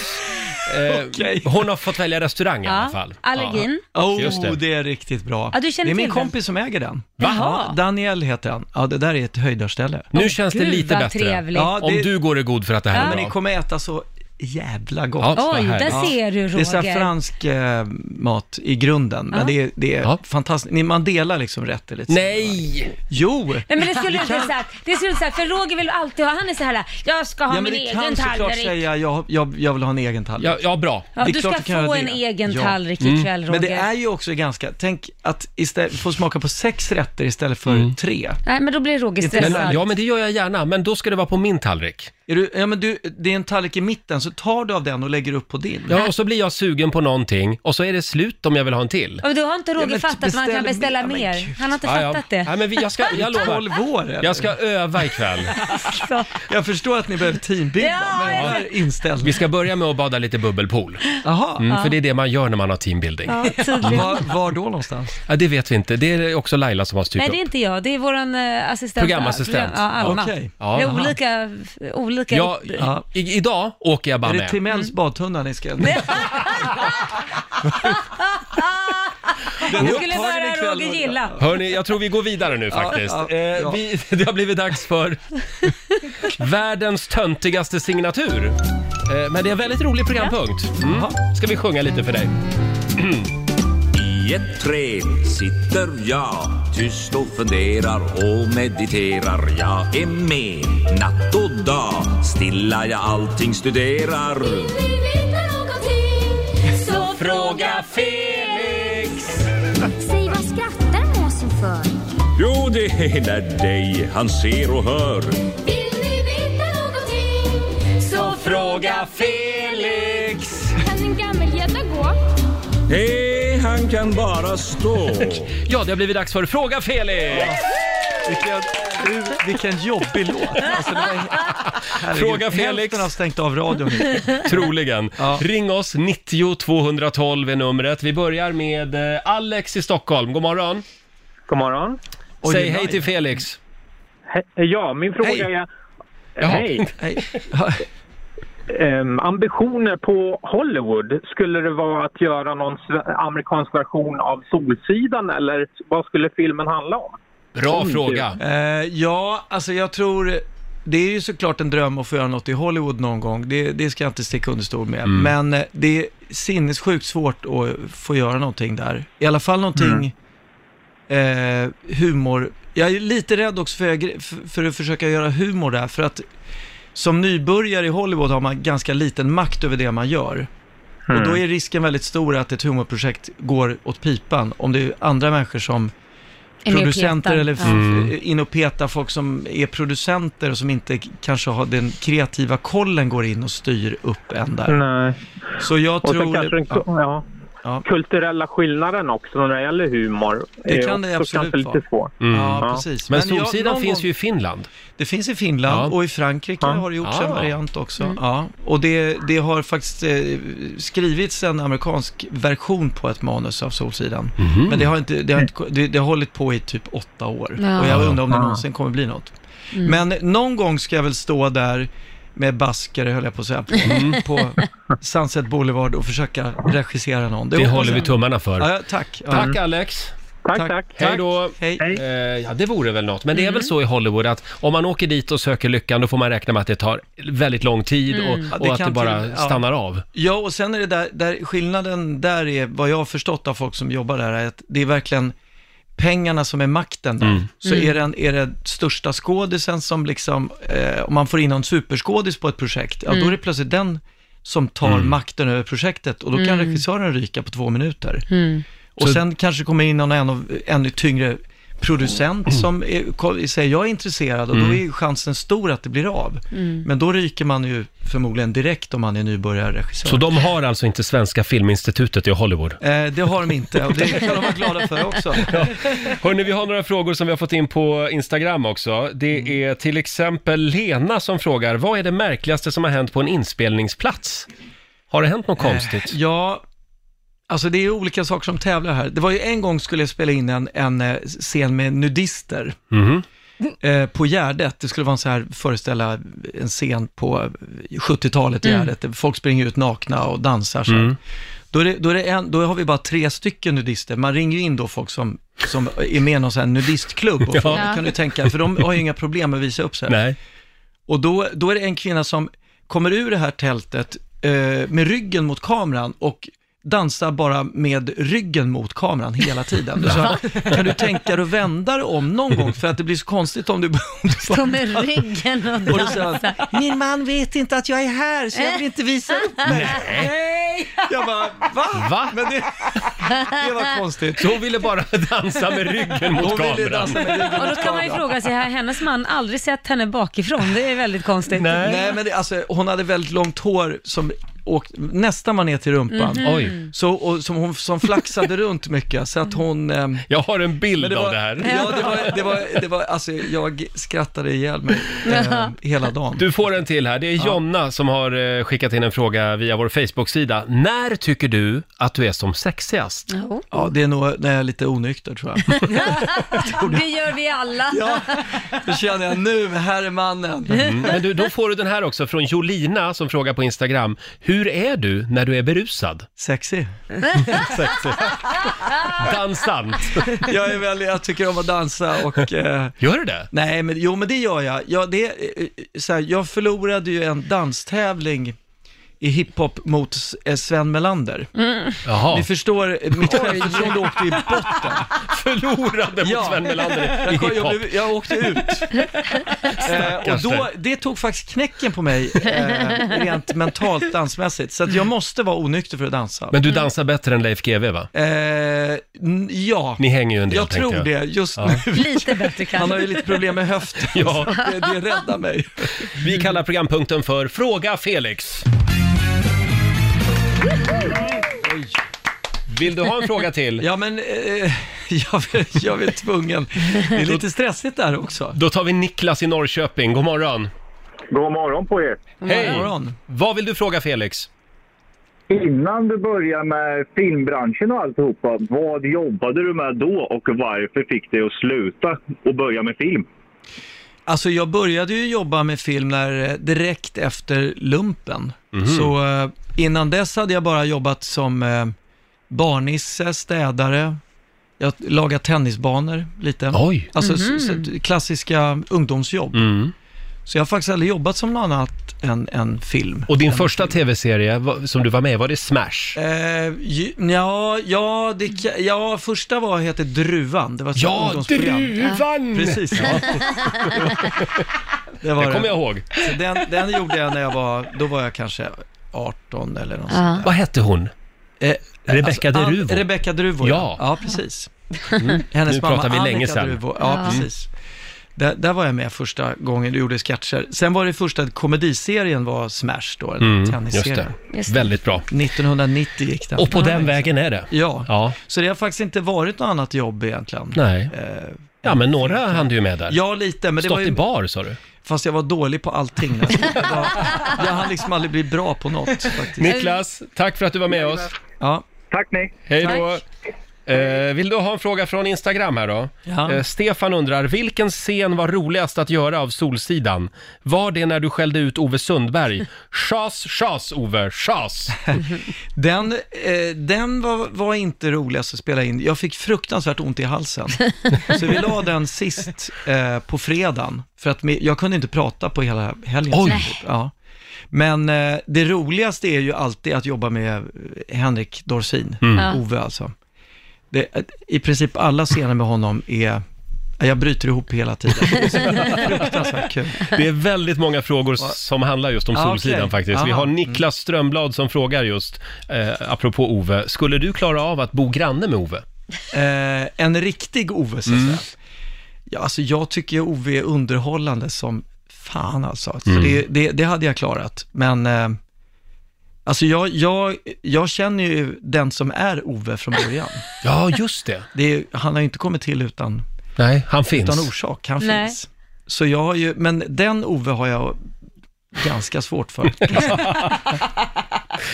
Eh, Okej. Hon har fått välja restaurang i alla Ja, fall. allergin. Oh, Just det. det. är riktigt bra. Ja, du känner det är min till den. kompis som äger den. Va? Ja, Daniel heter han. Ja, det där är ett höjdarställe. Ja. Nu känns det Gud, lite vad bättre. trevligt. Ja, Om det- du går i god för att det här Men är ni bra. kommer äta så jävla gott. Ja, vad Oj, härligt. där ser du Det är så Roger. här fransk eh, mat i grunden, men det är, det är Ja. fantastiskt. Ni- Man delar liksom rätter lite. Nej! Jo! Nej men det skulle du inte sagt. Det skulle du inte sagt, för Roger vill alltid ha, han är så här, jag ska ha Ja, men min det kan egen såklart tallrik. säga, jag, jag, jag vill ha en egen tallrik. Ja, ja bra. Ja, det är du klart ska du kan få göra en det. egen Ja. tallrik ikväll Mm. Roger. Men det är ju också ganska, tänk att istället, få smaka på sex rätter istället för Mm. tre. Nej men då blir Roger Inte Men, stressad. ja, men det gör jag gärna. Men då ska det vara på min tallrik. Är du, ja, men du, det är en tallrik i mitten, så tar du av den och lägger upp på din. Ja, och så blir jag sugen på någonting och så är det slut om jag vill ha en till. Och då har inte Roger men fattat att man beställ kan beställa mer. Ja, men mer. gud. Han har inte Ja, ja. fattat det. Nej, men vi, jag, ska, jag lovar. 12 år eller? Jag ska öva ikväll. Så. Jag förstår att ni behöver teambilda Ja, med den här inställningen. Vi ska börja med att bada lite bubbelpool. Jaha, Mm, För det är det man gör när man har teambuilding. Ja. var, var då någonstans? det vet vi inte. Det är också Laila som har styrt Nej det är upp. inte jag, det är våran eh, assistent. Programassistent. Ja, Alma. Okej. Ja, det är aha. olika, eh, olika. Ja, Ja. i, idag åker jag bara Är det med. Timells Mm. badtunna ni ska... Den är det skulle upptagen vara ikväll. Roger gilla. Hörni, jag tror vi går vidare nu faktiskt. ja, ja. Eh, vi, det har blivit dags för världens töntigaste signatur. Eh, men det är en väldigt rolig programpunkt. Mm. Ska vi sjunga lite för dig? I ett träd sitter jag tyst och funderar och mediterar. Jag är med natt och dag, stilla jag allting studerar. Fråga Felix! Säg, vad skrattar måsen för? Jo, det är när dig han ser och hör. Vill ni veta någonting? Så Fråga Felix! kan en gammelgädda gå? Nej, han kan bara stå. Ja, det har blivit dags för Fråga Felix! Vilken, du, vilken jobbig låt. Alltså, det var, herregud. Fråga Felix. Hälften har stängt av radion nu. Troligen. Ja. Ring oss, 90 212 är numret. Vi börjar med eh, Alex i Stockholm. God morgon. God morgon. Oj, Säg nej. hej till Felix. He- ja, min fråga Hej. är... Jaha. Hej. Nej. Ehm, ambitioner på Hollywood, skulle det vara att göra någon sve- amerikansk version av Solsidan eller vad skulle filmen handla om? Bra Oj, fråga. Eh, ja, alltså jag tror... Det är ju såklart en dröm att få göra något i Hollywood någon gång. Det, det ska jag inte sticka under stol med. Men eh, det är sinnessjukt svårt att få göra någonting där. I alla fall någonting eh, humor. Jag är lite rädd också för, jag, för- för att försöka göra humor där. För att som nybörjare i Hollywood har man ganska liten makt över det man gör. Och då är risken väldigt stor att ett humorprojekt går åt pipan om det är andra människor som Är med och producenter petar. eller Ja. Mm. f- eh, in och peta folk som är producenter och som inte k- kanske har den kreativa kollen går in och styr upp en där. Nej. Så jag Och sen tror... kanske den ja, ja. Ja, Ja. kulturella skillnaden också när det gäller humor. Det är kan det också absolut kanske vara. lite svår. ja, Ja. precis. Mm. Men jag- Solsidan någon finns gång- ju i Finland. Det finns i Finland Ja. och i Frankrike Ja. har det gjorts en Ah. variant också. Ja. Och det, det har faktiskt eh, skrivits en amerikansk version på ett manus av Solsidan. Mhm. Men det har, inte, det, har inte, det, det har hållit på i typ åtta år. Ja. Och jag undrar om det Ah. någonsin kommer bli något. Men någon gång ska jag väl stå där med baskare, höll jag på att säga, på, Mm. på Sunset Boulevard och försöka regissera någon. Det hoppas håller vi jag. tummarna för. Ja, ja, tack. Ja. Tack Alex. Tack, Tack. Mm. tack. Hej då. Hej. Hej. Eh, ja, det vore väl något. Men det är väl så i Hollywood att om man åker dit och söker lyckan då får man räkna med att det tar väldigt lång tid och, Mm. Ja, och det att kan det bara till- ja. stannar av. Ja, och sen är det där, där, skillnaden där är, vad jag har förstått av folk som jobbar där, är att det är verkligen pengarna som är makten där. Så är det, en, är det största skådisen som liksom, eh, om man får in någon superskådis på ett projekt, ja då är det plötsligt den som tar makten över projektet och då kan regissören ryka på två minuter. Och sen kanske kommer in någon ännu, ännu tyngre producent som är, ko- säger jag är intresserad och då är ju chansen stor att det blir av. Men då ryker man ju förmodligen direkt om man är nybörjarregissör. Så de har alltså inte Svenska Filminstitutet i Hollywood. Eh, det har de inte och det kan de vara glada för också. Hörni, vi har några frågor som vi har fått in på Instagram också. Mm. Det är till exempel Lena som frågar, vad är det märkligaste som har hänt på en inspelningsplats? Har det hänt något konstigt? Ja, alltså det är ju olika saker som tävlar här. Det var ju en gång skulle jag spela in en, en eh, scen med nudister Mhm. eh, på Gärdet. Det skulle vara en så här, föreställa en scen på eh, 70-talet i Gärdet. där Folk springer ut nakna och dansar. Så. här. Då, är det, då, är det en, då har vi bara tre stycken nudister. Man ringer ju in då folk som, som är med i någon sån här nudistklubb. Och frågar, kan du tänka, för de har ju inga problem med att visa upp sig. Nej. Och då, då är det en kvinna som kommer ur det här tältet eh, med ryggen mot kameran och dansar bara med ryggen mot kameran hela tiden. Så, kan du tänka dig att vända dig om någon gång? För att det blir så konstigt om du... om du Stå bara- med ryggen och och då säger han, dansa. min man vet inte att jag är här så jag vill inte visa upp mig. Jag bara, va? Va? Men det, det var konstigt. Så hon ville bara dansa med ryggen mot Hon ville kameran. dansa med ryggen Och då mot kan man ju kameran. fråga sig, har hennes man aldrig sett henne bakifrån? Det är väldigt konstigt. Nej. Nej, men det, alltså, hon hade väldigt långt hår som åkte, nästan var ner till rumpan. Mhm. Oj, Så, och, som, hon, som flaxade runt mycket, så att hon... ehm, jag har en bild det av var, det här. Ja, det var, det var, det var, alltså jag skrattade ihjäl mig eh, hela dagen. Du får en till här. Det är Jonna som har eh, skickat in en fråga via vår Facebook-sida. När tycker du att du är som sexigast? Jo. Ja, det är nog när jag är lite onykter tror jag. Det gör vi alla. Ja, då känner jag nu, här är mannen. Mm. Men du, då får du den här också från Jolina som frågar på Instagram. Hur Hur är du när du är berusad? Sexy. Sexy. Dansant. jag, är väl, jag tycker om att dansa och... eh, gör du det? Nej, men jo men det gör jag. Jag, det, eh, så här, jag förlorade ju en danstävling i hiphop mot eh, Sven Melander. Mm. Jaha. Ni förstår, eh, mitt självförtroende åkte i botten. Förlorade mot Sven Melander i jag, kom- jag, hiphop. blev- jag åkte ut. eh, och Stackars då, dig. det tog faktiskt knäcken på mig, eh, rent mentalt dansmässigt. Så att jag måste vara onykter för att dansa. Men du dansar bättre än Leif GW va? Eh, n- ja. Ni hänger ju en del Jag tänkte tror jag. det, just Ja. nu. Lite bättre kanske. Han har ju lite problem med höften. Ja. så Det, det räddar mig. Vi kallar programpunkten för Fråga Felix. Vill du ha en fråga till? Ja, men eh, jag, jag är tvungen. Det är lite stressigt där också. Då tar vi Niklas i Norrköping. God morgon. God morgon på er. Hej! God morgon. Vad vill du fråga Felix? Innan du började med filmbranschen och alltihopa, vad jobbade du med då och varför fick du att sluta och börja med film? Alltså jag började ju jobba med film när, eh, direkt efter lumpen. Mhm. Så eh, innan dess hade jag bara jobbat som eh, barnisse, städare, jag lagade tennisbanor lite. Oj. Mm. Alltså Mhm. s- s- klassiska ungdomsjobb. Så jag har faktiskt aldrig jobbat som något annat än, än film. Och din Än- första tv-serie va- som du var med i, var det Smash? Eh, ju- ja, ja, det, ka- ja, första var hette Druvan. Det var ett Ja, ungdomsprogram. Druvan! Precis, ja. Det, var Det kommer jag ihåg. Så den, den gjorde jag när jag var, då var jag kanske 18 eller något sånt. Vad hette hon? Eh, Rebecca alltså, de Ruvo? An- Rebecca Druvo, ja. Ja. ja. precis. Mm. Hennes Nu mamma pratar vi Annika länge sedan. Druvo, ja, Ja. precis. Där, där var jag med första gången du gjorde sketcher. Sen var det första komediserien var Smash då, en Mm, just tennisserie. det. Väldigt bra. 1990 gick den. Och på den vägen är det. Ja. ja. Så det har faktiskt inte varit något annat jobb egentligen. Nej. Ja, men några hann du ju med där. Eh, Ja, lite. Men det Stått var ju... i bar sa du. Fast jag var dålig på allting. Alltså. Jag, var... jag hann liksom aldrig bli bra på något faktiskt. Niklas, tack för att du var med oss. Ja. Tack ni. Hej då. Eh, vill du ha en fråga från Instagram här då? Ja. Eh, Stefan undrar, vilken scen var roligast att göra av Solsidan? Var det när du skällde ut Ove Sundberg? Chas, chas Ove, chas! Den, eh, den var, var inte roligast att spela in. Jag fick fruktansvärt ont i halsen. Så vi la den sist eh, på fredagen, för att me- jag kunde inte prata på hela helgen. Oj. Typ. Ja. Men eh, det roligaste är ju alltid att jobba med eh, Henrik Dorsin, Mm. Ja. Ove alltså. Det, eh, I princip alla scener med honom är, jag bryter ihop hela tiden. Det är så fruktansvärt kul. Det är väldigt många frågor som handlar just om Ja, Solsidan okej. faktiskt. Vi Aha. Mm. har Niklas Strömblad som frågar just, eh, apropå Ove, skulle du klara av att bo granne med Ove? Eh, en riktig Ove, så att Mm. säga. Ja, alltså jag tycker ju Ove är underhållande som fan alltså. Så Mm. det, det, det hade jag klarat, men eh, alltså jag, jag, jag känner ju den som är Ove från början. Ja, just det. det är, han har ju inte kommit till utan, Nej, han finns. utan orsak, han Nej. finns. Så jag har ju, men den Ove har jag ganska svårt för.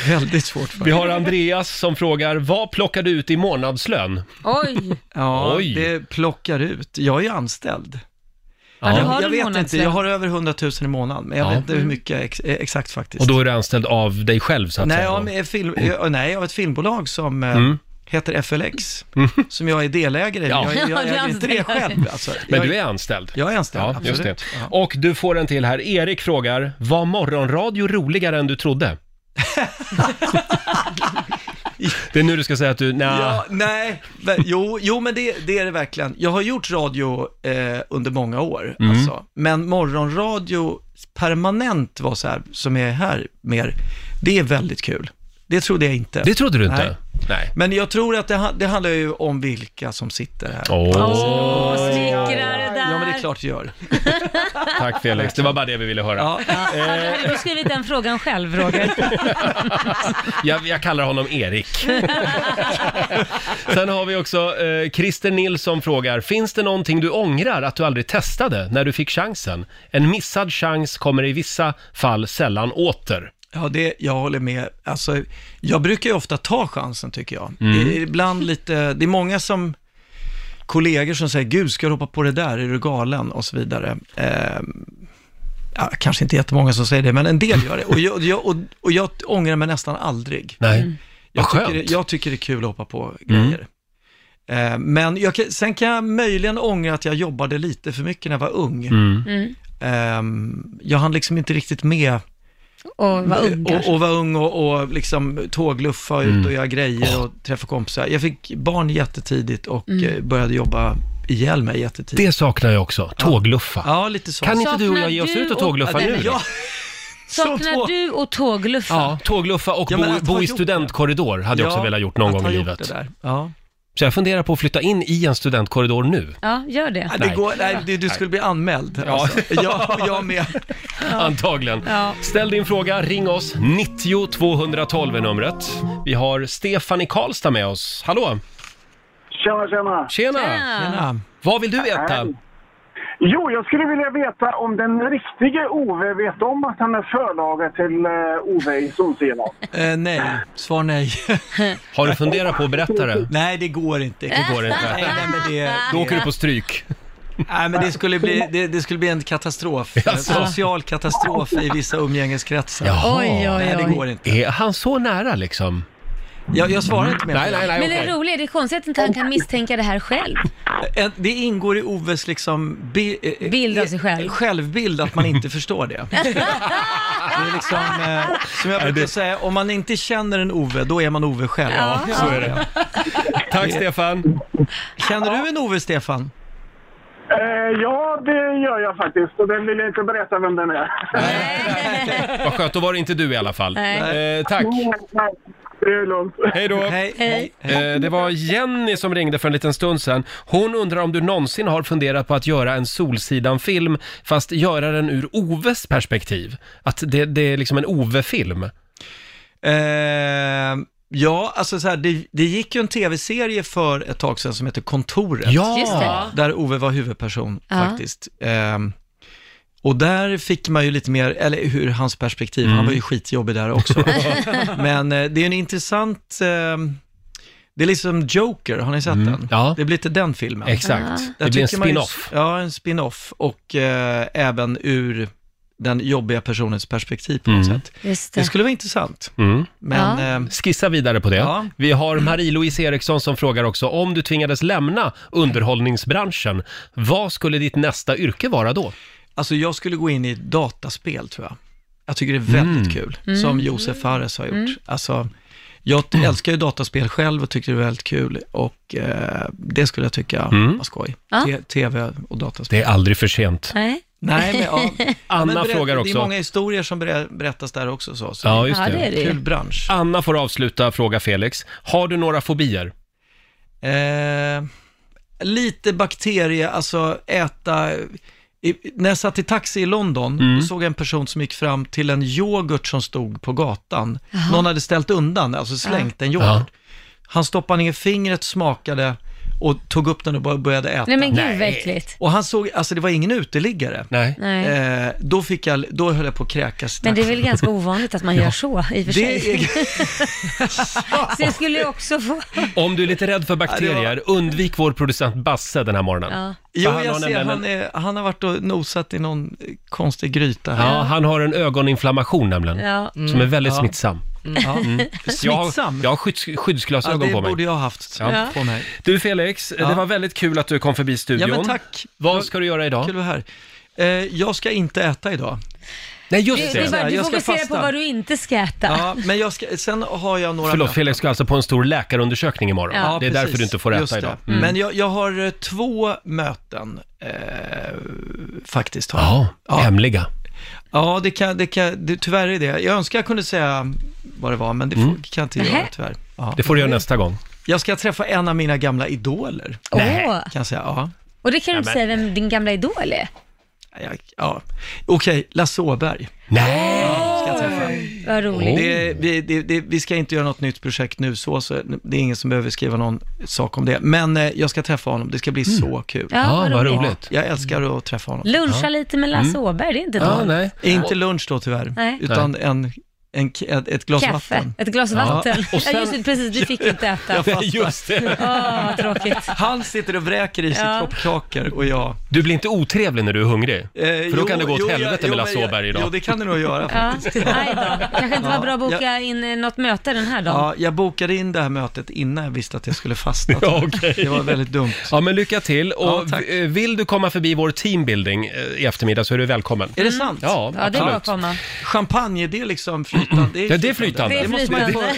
Väldigt svårt för. Vi har Andreas som frågar, vad plockar du ut i månadslön? Oj! Ja, Oj. det plockar ut. Jag är ju anställd. Ja. Vad har Jag, du jag i vet månadslön? inte, jag har över 100 000 i månaden, men jag Ja. vet inte hur mycket ex eh, exakt faktiskt. Och då är du anställd av dig själv så att nej, säga? jag, är film, jag, nej, jag har ett filmbolag som eh, Mm. heter FLX, som jag är delägare i. Ja. Ja, Jag, jag, jag du äger inte det anställd. själv. Alltså, Men jag, du är anställd? Jag är anställd, ja, just det. absolut. Och du får en till här. Erik frågar, var morgonradio roligare än du trodde? det är nu du ska säga att du, nja, Ja, nej, ve- jo, jo men det, det är det verkligen. Jag har gjort radio eh, under många år, Mm. alltså. men morgonradio permanent var så här, som är här mer, det är väldigt kul. Det trodde jag inte. det trodde du inte? Nej. Nej. Men jag tror att det, ha- det handlar ju om vilka som sitter här. Åh. Åh, snickrare där. Ja, men det är klart det gör. Tack Felix, det var bara det vi ville höra. Ja, du hade du skrivit den frågan själv Roger. Jag, jag kallar honom Erik. Sen har vi också eh, Christer Nilsson frågar, finns det någonting du ångrar att du aldrig testade när du fick chansen? En missad chans kommer i vissa fall sällan åter. Ja, det, jag håller med. Alltså, jag brukar ju ofta ta chansen, tycker jag. Mm. Det är ibland lite, det är många som, kollegor som säger, gud, ska du hoppa på det där? Är du galen? Och så vidare. Eh, ja, kanske inte jättemånga som säger det, men en del gör det. Och jag, jag, och, och jag ångrar mig nästan aldrig. Nej. Mm. Jag, Vad tycker, skönt. det- jag tycker det är kul att hoppa på grejer. Mm. Eh, Men jag, kan- sen kan jag möjligen ångra att jag jobbade lite för mycket när jag var ung. Mm. Mm. Ehm, jag hann liksom inte riktigt med Och var ung och, kanske. och var ung och, och liksom tågluffa ut Mm. och göra grejer och träffa kompisar. Jag fick barn jättetidigt och Mm. eh, började jobba ihjäl mig jättetidigt. Det saknar jag också. Tågluffa. Ja, lite så. Kan inte du och jag ge oss Saknar ut och du och- tågluffa nu? Ja, Saknar du och tågluffa? Ja, tågluffa och Ja, men bo, att bo ha i gjort studentkorridor hade jag också Ja, velat gjort någon att gång ha i gjort livet. det där. Ja. Så jag funderar på att flytta in i en studentkorridor nu. Ja, gör det. Nej, Nej. det går, nej, du, du skulle bli anmäld. Ja. Alltså. Jag, jag med. Antagligen. Ja. Ställ din fråga, ring oss. 90 212 är numret. Vi har Stefan i Karlstad med oss. Hallå! Tjena, tjena! Tjena! Tjena. Vad vill du veta? Hej. Jo, jag skulle vilja veta om den riktige Ove vet om att han är förlaga till eh, Ove i Solsidan. Eh, nej, svar nej. Har du funderat på att berätta det? Nej, det går inte. Det går Nej, inte. nej, men det, Då åker du på stryk. Nej, men det skulle bli, det, det skulle bli en katastrof. Jaså? En social katastrof i vissa umgängeskretsar. Jaha. Oj, oj, oj. Nej, det går inte. Är han så nära liksom? Jag, jag svarar inte mer. på Nej, det. nej, nej, Men okej. det roliga är, det är konstigt att inte han kan misstänka det här själv. En- Det ingår i Oves liksom bi- eh, eh, Bild av sig själv. självbild att man inte förstår det. Det är liksom, eh, som jag brukar säga, om man inte känner en Ove, då är man Ove själv. Ja, Så är det. Tack Stefan! Känner du en Ove, Stefan? Eh, ja, det gör jag faktiskt och den vill jag inte berätta vem den är. Vad skönt, då var det inte du i alla fall. Nej. Eh, tack! Det är lugnt. Hej då! Hej. Hej. Eh, Det var Jenny som ringde för en liten stund sedan. Hon undrar om du någonsin har funderat på att göra en Solsidan-film, fast göra den ur Oves perspektiv. Att det, det är liksom en Ove-film. Eh, ja, alltså så här, det, det gick ju en tv-serie för ett tag sedan som heter Kontoret. Just det. Där Ove var huvudperson Ja. faktiskt. Ehm, och där fick man ju lite mer, eller hur hans perspektiv, han Mm. var ju skitjobbig där också. Men eh, det är en intressant, ehm, det är liksom Joker, har ni sett den? Mm. Ja, Det blir lite den filmen. exakt. Ja. Det Där blir en tycker man ju- spin-off. Ja, en spin-off och eh, även ur den jobbiga personens perspektiv på något Mm. sätt. Just Det det. skulle vara intressant. Mm. Men Ja. ehm, Skissa vidare på det. Ja. Vi har Marie-Louise Eriksson som frågar också, om du tvingades lämna underhållningsbranschen, vad skulle ditt nästa yrke vara då? Alltså jag skulle gå in i dataspel tror jag. Jag tycker det är Mm. väldigt kul, som Josef Fares har gjort. Alltså, jag t- Mm. älskar ju dataspel själv och tycker det är väldigt kul och eh, det skulle jag tycka Mm. var skoj. Ja. T- Tv och dataspel. Det är aldrig för sent. Nej. Nej, men, ja. Anna men berätt- frågar Det också. är många historier som ber- berättas där också. Så, så Ja, just Ja, det är det. det Kul ju. bransch. Anna får avsluta fråga Felix. Har du några fobier? Eh, lite bakterie, alltså äta... I, när jag satt i taxi i London, Mm. då såg jag en person som gick fram till en yoghurt som stod på gatan. Någon hade ställt undan, alltså slängt en yoghurt. Ja. Han stoppade ner fingret, smakade och tog upp den och bara började äta. Nej men gud vad äckligt. Och han såg, alltså det var ingen uteliggare. Nej. Nej. Eh, då, fick jag, då höll jag på att kräkas i Men det är taxin. väl ganska ovanligt att man gör så i och för Det sig. är- Så jag skulle ju också få... Om du är lite rädd för Ja, bakterier, undvik vår producent Basse den här morgonen. Ja. Ja. Jo, Han har jag ser, nämligen han, är, han har varit och nosat i någon eh, konstig gryta här. han har en ögoninflammation nämligen, Ja. som är väldigt Mm. Ja. smittsam. Ja. mm. Jag har, Smittsam? jag har skydds, Ja, skyddsglasögon det på mig. borde jag ha haft eh, Ja. på mig. Du Felix, Ja. det var väldigt kul att du kom förbi Ja, studion. men tack. Vad ska du göra idag? Kul att vara här. Eh, jag ska inte äta idag. Nej, just Du, du, det! bara, du Jag ska fokuserar på fasta. vad du inte ska äta. Ja, men jag ska, sen har jag några... Förlåt, möten. Felix ska alltså på en stor läkarundersökning imorgon. Ja. det är precis. därför du inte får Just äta det. idag. Mm. Men jag, jag har eh, två möten, eh, faktiskt. Har. jag. Ja, hemliga. ja det kan, det kan, det, tyvärr är det. Jag önskar jag kunde säga vad det var, men det får, kan jag inte göra tyvärr. Ja. Mm. Det får du göra nästa gång. Jag ska träffa en av mina gamla idoler, Åh. kan jag säga. Ja. Och det kan du inte men- säga vem din gamla idol är. Jag, ja. Okej, Lasse Åberg Nej! ska jag träffa. Vad roligt. Oh. Det, vi, det, det, vi ska inte göra något nytt projekt nu så, så det är ingen som behöver skriva någon sak om det. Men eh, jag ska träffa honom, det ska bli Mm. så kul. Ja, Ja, vad vad roligt. roligt. Jag älskar att träffa honom. Mm. Luncha lite med Lasse Åberg, det är inte Ja, dåligt. nej. Inte lunch då tyvärr, Nej. utan en en, k- ett, ett glas Kaffe, vatten. ett glas vatten. Och Ja, sen- just det, precis, du fick inte äta. Jag fastnar. Just det. Åh, vad tråkigt. Han sitter och vräker i sig Ja. kroppkakor och jag... Eh, Du blir inte otrevlig när du är hungrig? För då jo, kan det gå åt jo, jag- helvete jo, med men Lasse jag- Åberg idag. jo, det kan det nog göra. Ja, aj då. Kanske inte var Ja, bra att boka jag- in eh, något möte den här dagen. Ja, jag bokade in det här mötet innan jag visste att jag skulle fastna. Ja, okej. Det var väldigt dumt. Ja, men lycka till. Ja, Och tack. v- eh, vill du komma förbi vår teambuilding eh, i eftermiddag så är du välkommen. Är det sant? Ja, absolut. komma. Champagne, det är liksom flytande? Ja, det är flytande. Det är måste man flytande.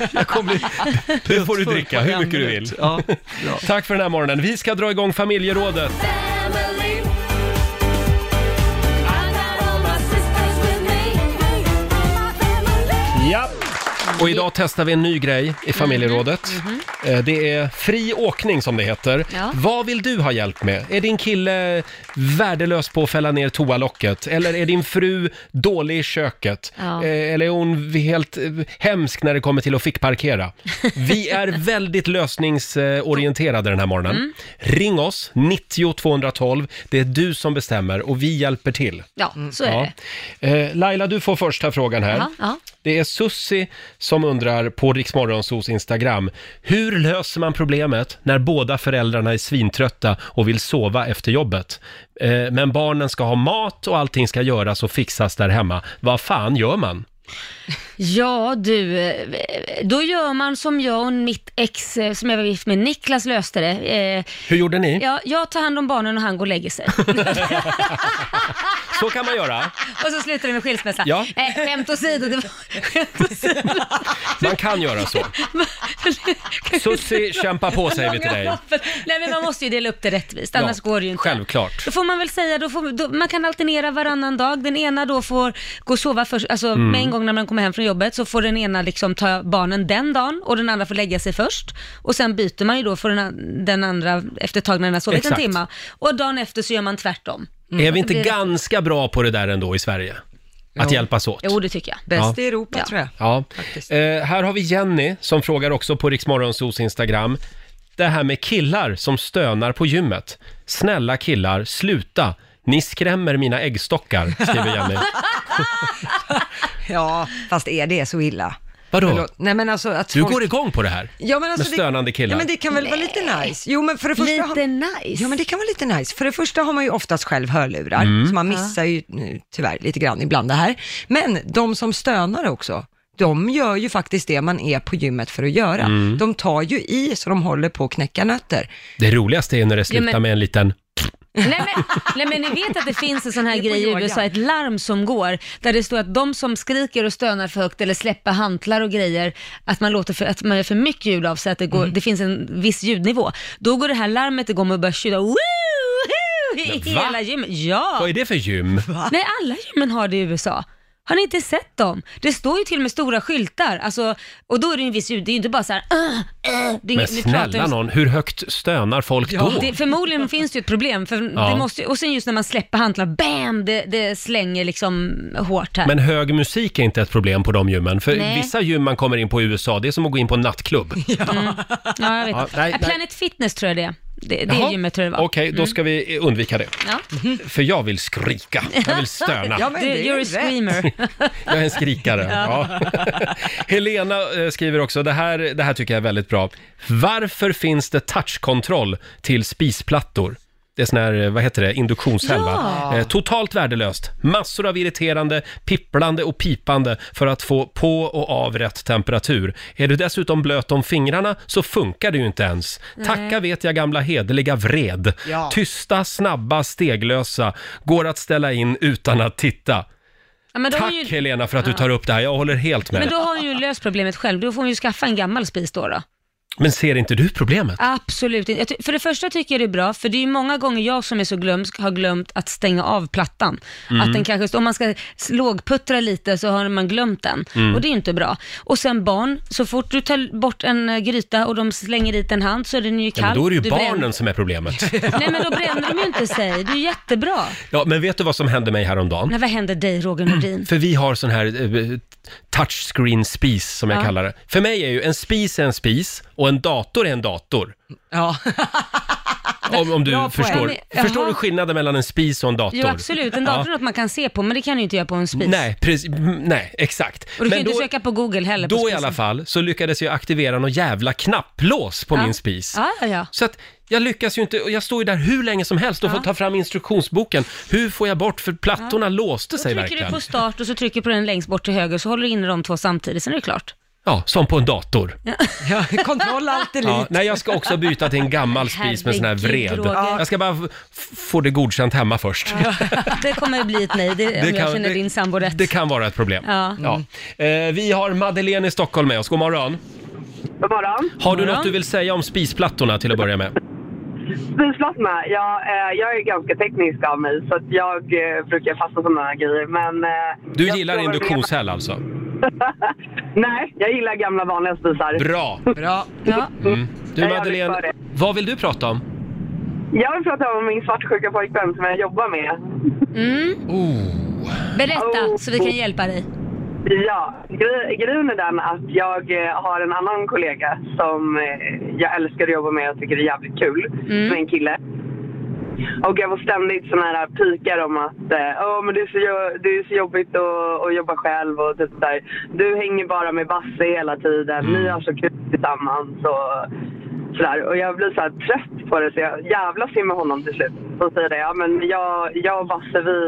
få- jag kommer bli Det får du puttfull dricka på hur en mycket du minut. vill. Ja. Tack för den här morgonen. Vi ska dra igång familjerådet. Ja. Och idag testar vi en ny grej Mm. i familjerådet. Eh, Det är fri åkning som det heter. Mm-hmm. Ja. Vad vill du ha hjälp med? Är din kille värdelös på att fälla ner toalocket? Eller är din fru dålig i köket? Ja. Eh, Eller är hon helt eh, hemsk när det kommer till att fickparkera? Vi är väldigt lösningsorienterade den här morgonen. Mm. Ring oss, 90 212. Det är du som bestämmer och vi hjälper till. Ja, så Mm. är det. det. Eh, Laila, du får första frågan här. Ja, ja. Det är Sussi som undrar på Riksmorgonsos Instagram. Hur löser man problemet när båda föräldrarna är svintrötta och vill sova efter jobbet? Eh, Men barnen ska ha mat och allting ska göras och fixas där hemma. Vad fan gör man? Ja du, eh, då gör man som jag och mitt ex eh, som jag var gift med, Niklas löste det. Eh, Hur gjorde ni? Ja, jag tar hand om barnen och han går och lägger sig. Så kan man göra. och så slutar det med skilsmässa. Ja. Nej, skämt åsido. Det var, skämt åsido. Man kan göra så. Sussi, kämpa på säger vi till dig. Nej men man måste ju dela upp det rättvist, annars Ja, går det ju inte. Självklart. Då får man väl säga, då får, då, man kan alternera varannan dag. Den ena då får gå och sova först, alltså Mm. med en gång när man kommer hem från jobbet så får den ena liksom ta barnen den dagen och den andra får lägga sig först. Och sen byter man ju då för den, an- den andra efter ett tag när den har sovit Exakt. en timma. Och dagen efter så gör man tvärtom. Är vi inte Det blir- ganska bra på det där ändå i Sverige? Att hjälpas åt. Jo, det tycker jag. Bäst Ja. i Europa tror jag. Ja. Eh, här har vi Jenny som frågar också på Riksmorgonsos Instagram. Det här med killar som stönar på gymmet. Snälla killar, sluta. Ni skrämmer mina äggstockar, skriver Jenny. Ja, fast är det så illa? Vadå? Förlåt. Nej men alltså att Du folk... går igång på det här? Ja, men alltså med stönande det, killar? Ja, men det kan väl vara lite nice? Jo, men för det första Lite har, nice? Ja, men det kan vara lite nice. För det första har man ju oftast själv hörlurar, Mm. så man missar ju nu, tyvärr lite grann ibland det här. Men de som stönar också, de gör ju faktiskt det man är på gymmet för att göra. Mm. De tar ju i så de håller på att knäcka nötter. Det roligaste är när det Ja, men- slutar med en liten... Nej men, nej men ni vet att det finns en sån här Det är på grej i yoga. USA, ett larm som går, där det står att de som skriker och stönar för högt eller släpper hantlar och grejer, att man, låter för, att man gör för mycket ljud av sig, att det, går, Mm. det finns en viss ljudnivå. Då går det här larmet igång och börjar tjuta "Woo, hoo", i Men va? hela gymmet. Ja! Vad är det för gym? Nej, alla gymmen har det i USA. Har ni inte sett dem? Det står ju till och med stora skyltar, alltså, och då är det ju en viss ljud, det är ju inte bara så här. "Åh, åh", det är- Men nu pratar snälla vi- någon, hur högt stönar folk då? det, förmodligen finns det ju ett problem, för Ja. det måste, ju- och sen just när man släpper hantlar, bam, det, det slänger liksom hårt här. Men hög musik är inte ett problem på de gymmen. För Nej. vissa gym man kommer in på i USA, det är som att gå in på en nattklubb. ja, jag vet. Ja, Ja, nej, nej. Planet Fitness tror jag det är. Det, det Jaha. gymmet tror jag det var. Mm. Okej, då ska vi undvika det. Ja. För jag vill skrika, jag vill stöna. Ja, men det är Du- you're a rätt. screamer. Jag är en skrikare. Ja. Helena eh, skriver också, det här, det här tycker jag är väldigt bra. Varför finns det touchkontroll till spisplattor? Det är sån här, eh, vad heter det, induktionshälva. Ja. Eh, totalt värdelöst. Massor av irriterande, pipplande och pipande för att få på och av rätt temperatur. Är du dessutom blöt om fingrarna så funkar det ju inte ens. Nej. Tacka vet jag gamla hederliga vred. Ja. Tysta, snabba, steglösa. Går att ställa in utan att titta. Ja, men då har Tack ju, Helena för att du tar upp det här, jag håller helt med. Men Men, då har hon ju löst problemet själv, då får hon ju skaffa en gammal spis då. då. ser inte du problemet? Absolut inte. Jag ty- För det första tycker jag det är bra, för det är ju många gånger jag som är så glömsk har glömt att stänga av plattan. Mm. Att den kanske, om man ska s- lågputtra lite så har man glömt den Mm. och det är ju inte bra. Och sen barn, så fort du tar bort en eh, gryta och de slänger dit en hand så är den ju Ja, kall. men då är det ju Du barnen bränner- som är problemet. Nej men då bränner de ju inte sig, det är ju jättebra. Ja, men vet du vad som hände mig häromdagen? Men vad händer dig Roger Nordin? För vi har sån här eh, touchscreen-spis som jag Ja. kallar det. För mig är ju en spis är en spis och en dator är en dator. Ja. Alltså, Om, om du Bra poäng. förstår. Men- jaha. Förstår du skillnaden mellan en spis och en dator? Jo absolut, en dator är Ja. något man kan se på men det kan du inte göra på en spis. Nej, precis, mm, nej, exakt. Och du kan ju Men inte då, söka på Google heller. på då i spisen. alla fall så lyckades jag aktivera någon jävla knapplås på Ja. min spis. Ja, ja, ja. Så att jag lyckas ju inte, och jag står ju där hur länge som helst och får ta fram instruktionsboken. Hur får jag bort, för plattorna låste sig Trycker du verkligen. på start och så trycker du på den längst bort till höger så håller du inne de två samtidigt, sen är det klart. Ja, som på en dator. Kontroll allt elit. Ja, nej, jag ska också byta till en gammal spis med sån här Herregud, vred. Roger. Jag ska bara f- få det godkänt hemma först. Det kommer att bli ett nej, det, om jag känner din sambo rätt. det kan vara ett problem. Ja. Mm. Eh, vi har Madeleine i Stockholm med oss. God morgon. God morgon. Har du God morgon. något du vill säga om spisplattorna till att börja med? Spisplattna, jag, eh, jag är ganska teknisk av mig så att jag eh, brukar fastna sådana här grejer. Men, eh, Du jag gillar tror- induktionshäll alltså? Nej, jag gillar gamla vanliga spisar. Bra. Bra. Ja. Mm. Du Jag är Madeleine, för det. vad vill du prata om? Jag vill prata om min svartsjuka pojkvän som jag jobbar med. Mm. Oh. Berätta så vi kan hjälpa dig. Ja, gre- grejen är den att jag eh, har en annan kollega som eh, jag älskar att jobba med och tycker det är jävligt kul, Mm. som är en kille. Och jag får ständigt såna här pikar om att eh, "Åh, men det, är så jo- det är så jobbigt att, att jobba själv och typ så här, du hänger bara med Basse hela tiden, ni har så kul tillsammans och sådär. Och jag blir så här trött på det så jag jävlas ju med honom till slut. Och säger det, ja men jag, jag och Basse vi,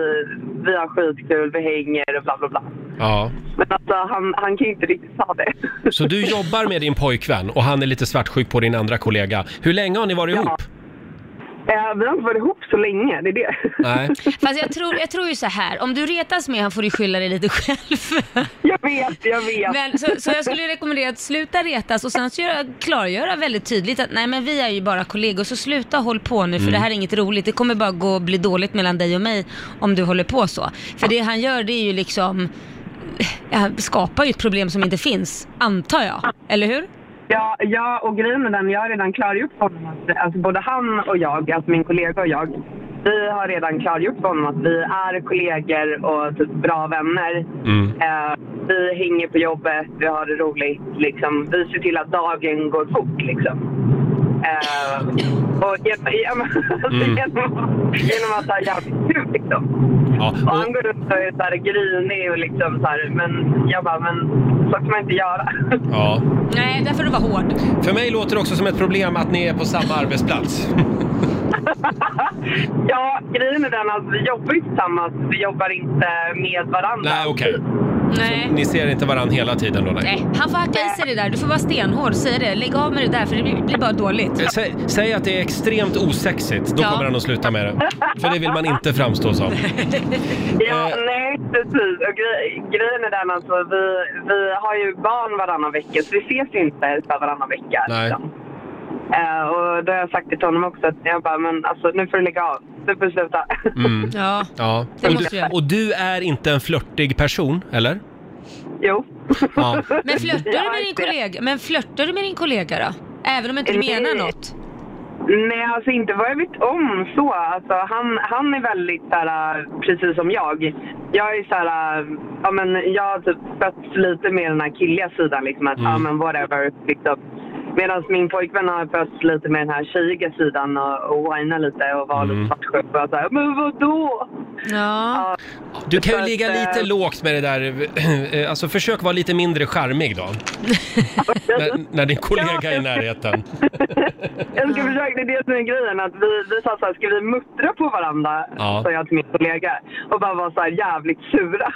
vi har skitkul, vi hänger och bla bla bla. Ja. Men alltså han, han kan ju inte riktigt ta det. Så du jobbar med din pojkvän och han är lite svartsjuk på din andra kollega. Hur länge har ni varit ihop? Eh, vi har inte varit ihop så länge, det är det. Nej. Fast jag tror, jag tror ju så här, om du retas med han får du skylla dig lite själv. Jag vet, jag vet. Men, så, så jag skulle rekommendera att sluta retas och sen så göra, klargöra väldigt tydligt att nej men vi är ju bara kollegor så sluta håll på nu för Mm. det här är inget roligt. Det kommer bara gå och bli dåligt mellan dig och mig om du håller på så. För det han gör det är ju liksom, ja, skapar ju ett problem som inte finns, antar jag. Eller hur? Ja, ja, och grejen med den, jag har redan klargjort för honom att alltså, både han och jag, alltså min kollega och jag, vi har redan klargjort för honom att vi är kollegor och typ bra vänner. Mm. Eh, vi hänger på jobbet, vi har det roligt, liksom. vi ser till att dagen går fort. Liksom. Eh, och genom, genom, Mm. genom, genom att ha jävligt kul liksom. och han går runt och är så här grinig och liksom så här, men jag bara, men så kan man inte göra. Ja. Nej, där får du vara hård. För mig låter det också som ett problem att ni är på samma arbetsplats. Ja, grejen är den att vi jobbar ju tillsammans. Vi jobbar inte med varandra. Nej, okej. Nej. Ni ser inte varandra hela tiden då? Nej, han får hacka i sig det där. Du får vara stenhård, säg det. Lägg av med det där för det blir, blir bara dåligt. Eh, Säg, säg att det är extremt osexigt, då Ja. kommer han att sluta med det. För det vill man inte framstå som. Ja, Eh. nej, precis. Och gre- grejen är den alltså, vi, vi har ju barn varannan vecka, så vi ses inte så här varannan vecka. Nej. liksom. Eh, och då har jag sagt till honom också att jag bara, men alltså nu får du lägga av. Du får sluta. Mm. Ja. ja. Det Och, måste du, jag. och du är inte en flörtig person, eller? Jo. Ja. Men flörtar du med din kollega? Men flörtar du med din kollega då? Även om inte du Nej. menar något? Nej, alltså inte vad jag vet om så. Alltså, han, han är väldigt så här, äh, precis som jag. Jag är så här, äh, ja men jag har typ fötts lite med den här killiga sidan liksom att, Mm. ja men whatever liksom. Medan min pojkvän har fötts lite med den här tjejiga sidan och, och whinar lite och var Mm. lite svartsjuk och så här, men vadå? Ja. Du kan Så ju att, ligga eh, lite lågt med det där, eh, alltså försök vara lite mindre charmig då. när, när din kollega är i närheten. Jag ska försöka, det är det som är grejen. Att vi, vi sa såhär, ska vi muttra på varandra? Ja. Sa jag till min kollega. Och bara vara såhär jävligt sura.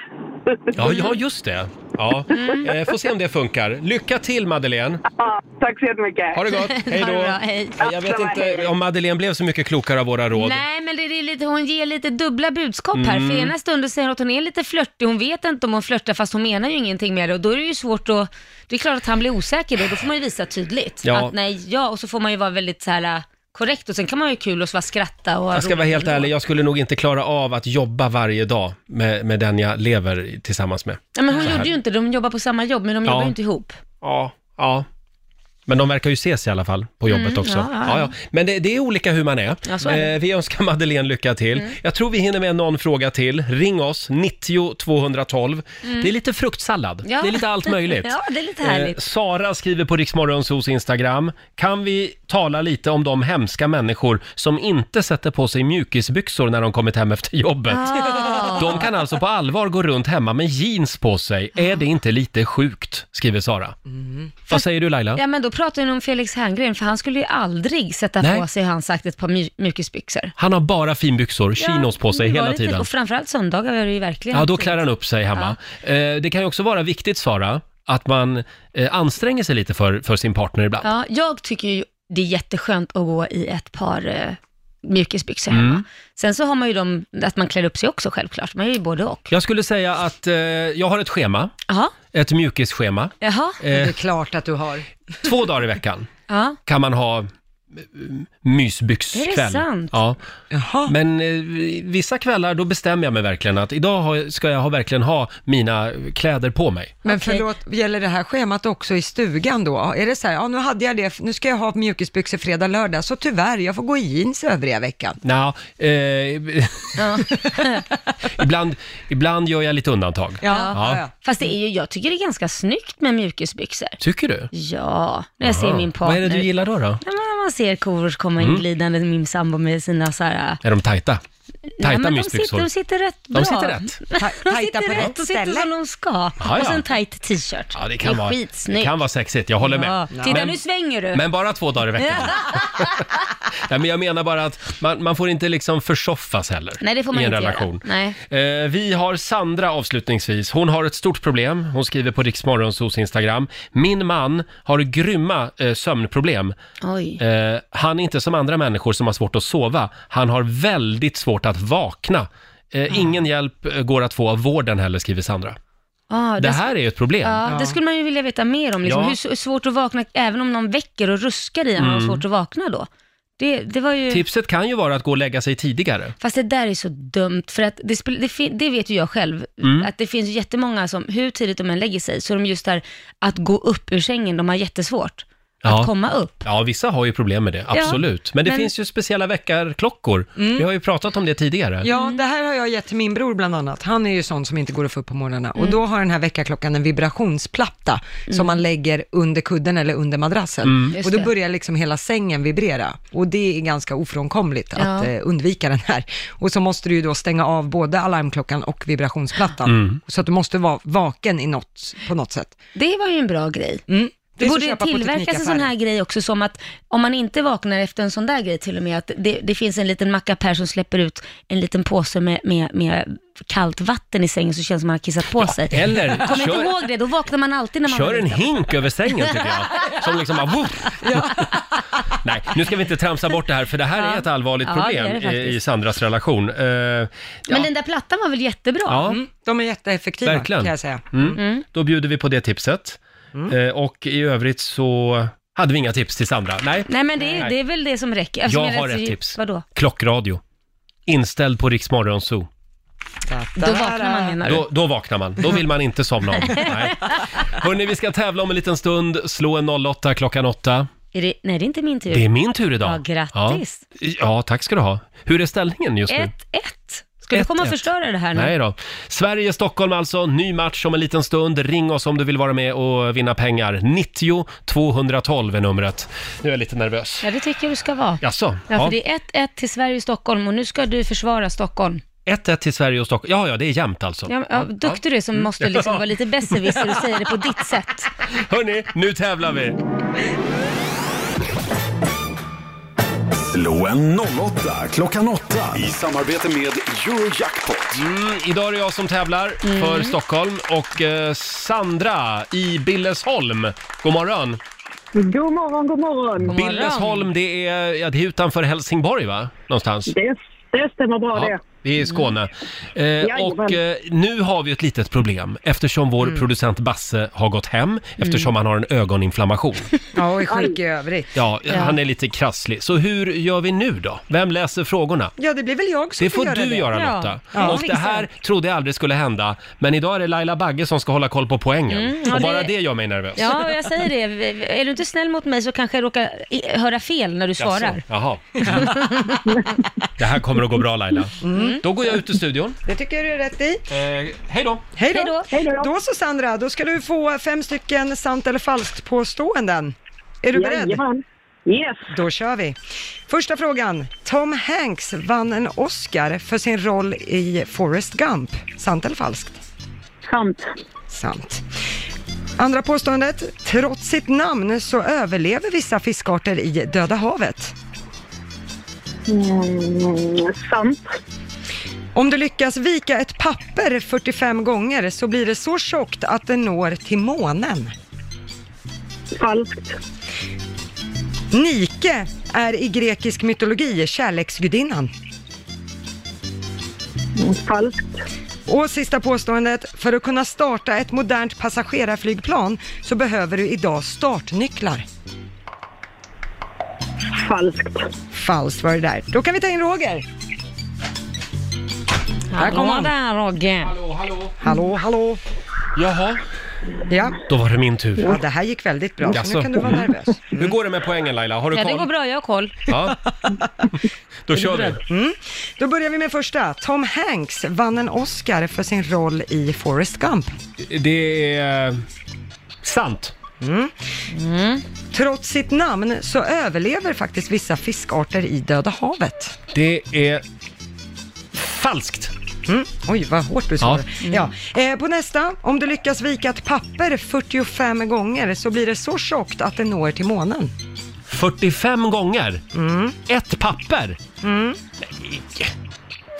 Ja, ja Mm. just det. Ja. Eh, får se om det funkar. Lycka till Madeleine! Ja, tack så jättemycket. Ha det gott. Hej Ha det då. bra, hej. Jag vet inte om Madeleine blev så mycket klokare av våra råd. Nej, men det är lite, hon ger lite dubbla budskap här. Mm. För ena stunden säger hon att hon är lite flörtig, hon vet inte om hon flörtar fast hon menar ju ingenting med det och då är det ju svårt att... Det är klart att han blir osäker då, då får man ju visa tydligt. Ja. Att nej, ja, och så får man ju vara väldigt så här äh, korrekt och sen kan man ju ha kul och så bara skratta och ha Jag ska roligt vara helt ändå. ärlig, jag skulle nog inte klara av att jobba varje dag med, med den jag lever i- tillsammans med. Ja, men hon Så här. gjorde ju inte det, de jobbar på samma jobb men de Ja. jobbar ju inte ihop. Ja, ja. Men de verkar ju ses i alla fall på jobbet Mm, också. ja, Ja, ja. ja. Men det, det är olika hur man är. Ja, så är det. Mm. Eh, vi önskar Madeleine lycka till. Jag tror vi hinner med någon fråga till. Ring oss, 90 212. Mm. Det är lite fruktsallad. Ja. Det är lite allt möjligt. Ja, det är lite härligt. Eh, Sara skriver på Riksmorgonsos Instagram. Kan vi tala lite om de hemska människor som inte sätter på sig mjukisbyxor när de kommit hem efter jobbet? Ah. De kan alltså på allvar gå runt hemma med jeans på sig. Är det inte lite sjukt? Skriver Sara. Vad säger du Laila? Mm. Ja men då pratar vi om Felix Herngren, för han skulle ju aldrig sätta Nej. på sig, har han sagt, ett par mj- mjukisbyxor. Han har bara finbyxor, Ja, chinos på sig det var hela lite- tiden. Och framförallt söndagar är det ju verkligen. Ja, då klär han upp sig hemma. Eh, Det kan ju också vara viktigt, Sara, att man eh, anstränger sig lite för, för sin partner ibland. Ja, jag tycker ju det är jätteskönt att gå i ett par eh, mjukisbyxor hemma. Mm. Sen så har man ju de, att man klär upp sig också självklart. Man är ju både och. Jag skulle säga att eh, jag har ett schema, Jaha, ett mjukisschema. jaha. Eh. Det är klart att du har. Två dagar i veckan Ja. kan man ha eh, mysbyxkväll. Är det sant? Ja. Men eh, vissa kvällar då bestämmer jag mig verkligen att idag har- ska jag ha, verkligen ha mina kläder på mig. Men förlåt, gäller det här schemat också i stugan då? Är det så här, ja nu hade jag det, nu ska jag ha mjukisbyxor fredag, lördag, så tyvärr, jag får gå i jeans övriga veckan. Nja, eh, ibland, ibland gör jag lite undantag. Fast det är ju, jag tycker det är ganska snyggt med mjukisbyxor. Tycker du? Ja, när jag ser min Vad partner. är det du gillar då? då? Ja, men man ser kor komma in Mm. glidande, min sambo med sina så här... Är de tajta? Nej, Tajta men de mysbyxor? sitter, de sitter rätt De bra. sitter rätt. De sitter på rätt rätt och sitter ställe. som de ska. ja. Och sen tight t-shirt. Ja, det kan, är vara, det skitsnyggt. kan vara sexigt, jag håller Ja. med. Titta, Men- nu svänger du. Men bara två dagar i veckan. Nej, men jag menar bara att man, man får inte liksom försoffas heller Nej, det får man i en inte relation. göra. Nej. Eh, vi har Sandra avslutningsvis. Hon har ett stort problem. Hon skriver på Riksmorgonsos Instagram. Min man har grymma eh, sömnproblem. Oj. Eh, han är inte som andra människor som har svårt att sova. Han har väldigt svårt att vakna. Mm. Eh, ingen hjälp eh, går att få av vården heller, skriver Sandra. Ah, det det- här är ju ett problem. Ja, det skulle man ju vilja veta mer om. Liksom. Ja. Hur s- hur svårt att vakna, även om någon väcker och ruskar i en, har Mm. svårt att vakna då. Det, det var ju... Tipset kan ju vara att gå och lägga sig tidigare. Fast det där är så dumt, för att det, spel- det, fin- det vet ju jag själv, Mm. att det finns ju jättemånga som, hur tidigt de än lägger sig, så är de just där att gå upp ur sängen, de har jättesvårt Ja. att komma upp. Ja, vissa har ju problem med det, Ja, absolut. men det men- Mm. finns ju speciella väckarklockor. Vi har ju pratat om det tidigare. Ja, det här har jag gett till min bror bland annat. Han är ju sån som inte går att få upp på morgnarna. Mm. Och då har den här veckaklockan en vibrationsplatta som man lägger under kudden eller under madrassen. Mm. Just Och då det. börjar liksom hela sängen vibrera. Och det är ganska ofrånkomligt att Ja. eh, undvika den här. Och så måste du ju då stänga av både alarmklockan och vibrationsplattan. Mm. Så att du måste vara vaken i något, på något sätt. Det var ju en bra grej. Mm. Det, finns att borde köpa på tillverkas en sån teknikaffärer. här grej också, som att om man inte vaknar efter en sån där grej till och med, att det, det finns en liten mackapär som släpper ut en liten påse med, med, med kallt vatten i sängen så känns det som man har kissat på sig. eller Kommer kör- inte ihåg det, då vaknar man alltid när man Kör var en liten. hink över sängen tycker jag. Som liksom bara... Woof. Nej, nu ska vi inte tramsa bort det här, för det här är ett allvarligt Ja, det är problem det i, faktiskt. i Sandras relation. Eh, Men den där plattan var väl jättebra? Ja. Mm, de är jätteeffektiva verkligen. kan jag säga. Mm. Då bjuder vi på det tipset. Eh, och i övrigt så hade vi inga tips till Sandra. Nej, Nej men det, det är väl det som räcker. Alltså, Jag men har alltså, ett tips. Vadå? Klockradio. Inställd på Rix Morgon Zoo. Då vaknar man menar du? Då, då vaknar man. Då vill man inte somna om. Nej. Hörni, vi ska tävla om en liten stund. Slå en 08 klockan 8. Är det, nej det är inte min tur. Det är min tur idag. Ja, grattis. Eh. Ja, ja tack ska du ha. Hur är ställningen just nu? 1-1. Ska du Ett, komma och ett. förstöra det här nu? Nej då. Sverige-Stockholm alltså, ny match om en liten stund. Ring oss om du vill vara med och vinna pengar. 90 212 är numret. Nu är jag lite nervös. Ja det tycker jag du ska vara. Jaså? Ja, Ja. för det är 1-1 till Sverige och Stockholm och nu ska du försvara Stockholm. 1-1 till Sverige och Stockholm. Ja, ja, det är jämnt alltså. Ja, ja, duktig du är som Mm. måste liksom vara lite besserwisser och säga det på ditt sätt. Hörni, nu tävlar vi! Slå en 08 klockan 8 i samarbete med Eurojackpot. Mm, idag är det jag som tävlar Mm. för Stockholm och eh, Sandra i Billesholm. God morgon! God morgon, god morgon. Billesholm, det är, ja, det är utanför Helsingborg va? Någonstans? Det, det stämmer bra det. det är i Skåne. Eh, och eh, Jajamän. nu har vi ett litet problem eftersom vår Mm. producent Basse har gått hem eftersom han har en ögoninflammation. Ja, och är sjuk i övrigt. Ja, Ja. han är lite krasslig. Så hur gör vi nu då? Vem läser frågorna? Ja, det blir väl jag som Det får får du göra Lotta. Och det här trodde jag aldrig skulle hända, men idag är det Laila Bagge som ska hålla koll på poängen. Mm, ja, och bara det- det gör mig nervös. Ja, och jag säger det. Är du inte snäll mot mig så kanske jag råkar i- höra fel när du svarar. Jaså, Jaha. Det här kommer att gå bra Laila. Mm. Då går jag ut ur studion. Det tycker jag du är rätt i. Eh, hej då! Hej då! Då så Sandra, då ska du få fem stycken sant eller falskt påståenden. Är du beredd? Jajamän. Yes. Då kör vi. Första frågan. Tom Hanks vann en Oscar för sin roll i Forrest Gump. Sant eller falskt? Sant. Sant. Andra påståendet. Trots sitt namn så överlever vissa fiskarter i Döda havet. Mm, sant. Om du lyckas vika ett papper 45 gånger så blir det så tjockt att det når till månen. Falskt. Nike är i grekisk mytologi kärleksgudinnan. Falskt. Och sista påståendet. För att kunna starta ett modernt passagerarflygplan så behöver du idag startnycklar. Falskt. Falskt var det där. Då kan vi ta in Roger. Här kommer han. där Rogge. Hallå, hallå. Hallå, hallå. Jaha. Ja. Då var det min tur. Ja, det här gick väldigt bra, så Jaså? nu kan du vara nervös. Hur går det med poängen Laila? Har du Ja, det koll? går bra. Jag har koll. Ja. Då kör vi. Mm. Då börjar vi med första. Tom Hanks vann en Oscar för sin roll i Forrest Gump. Det är eh, sant. Mm. Trots sitt namn så överlever faktiskt vissa fiskarter i Döda havet. Det är falskt. Mm. Oj, vad hårt du svarade. Ja. Eh, på nästa. Om du lyckas vika ett papper 45 gånger så blir det så tjockt att det når till månen. 45 gånger? Ett papper? Mm.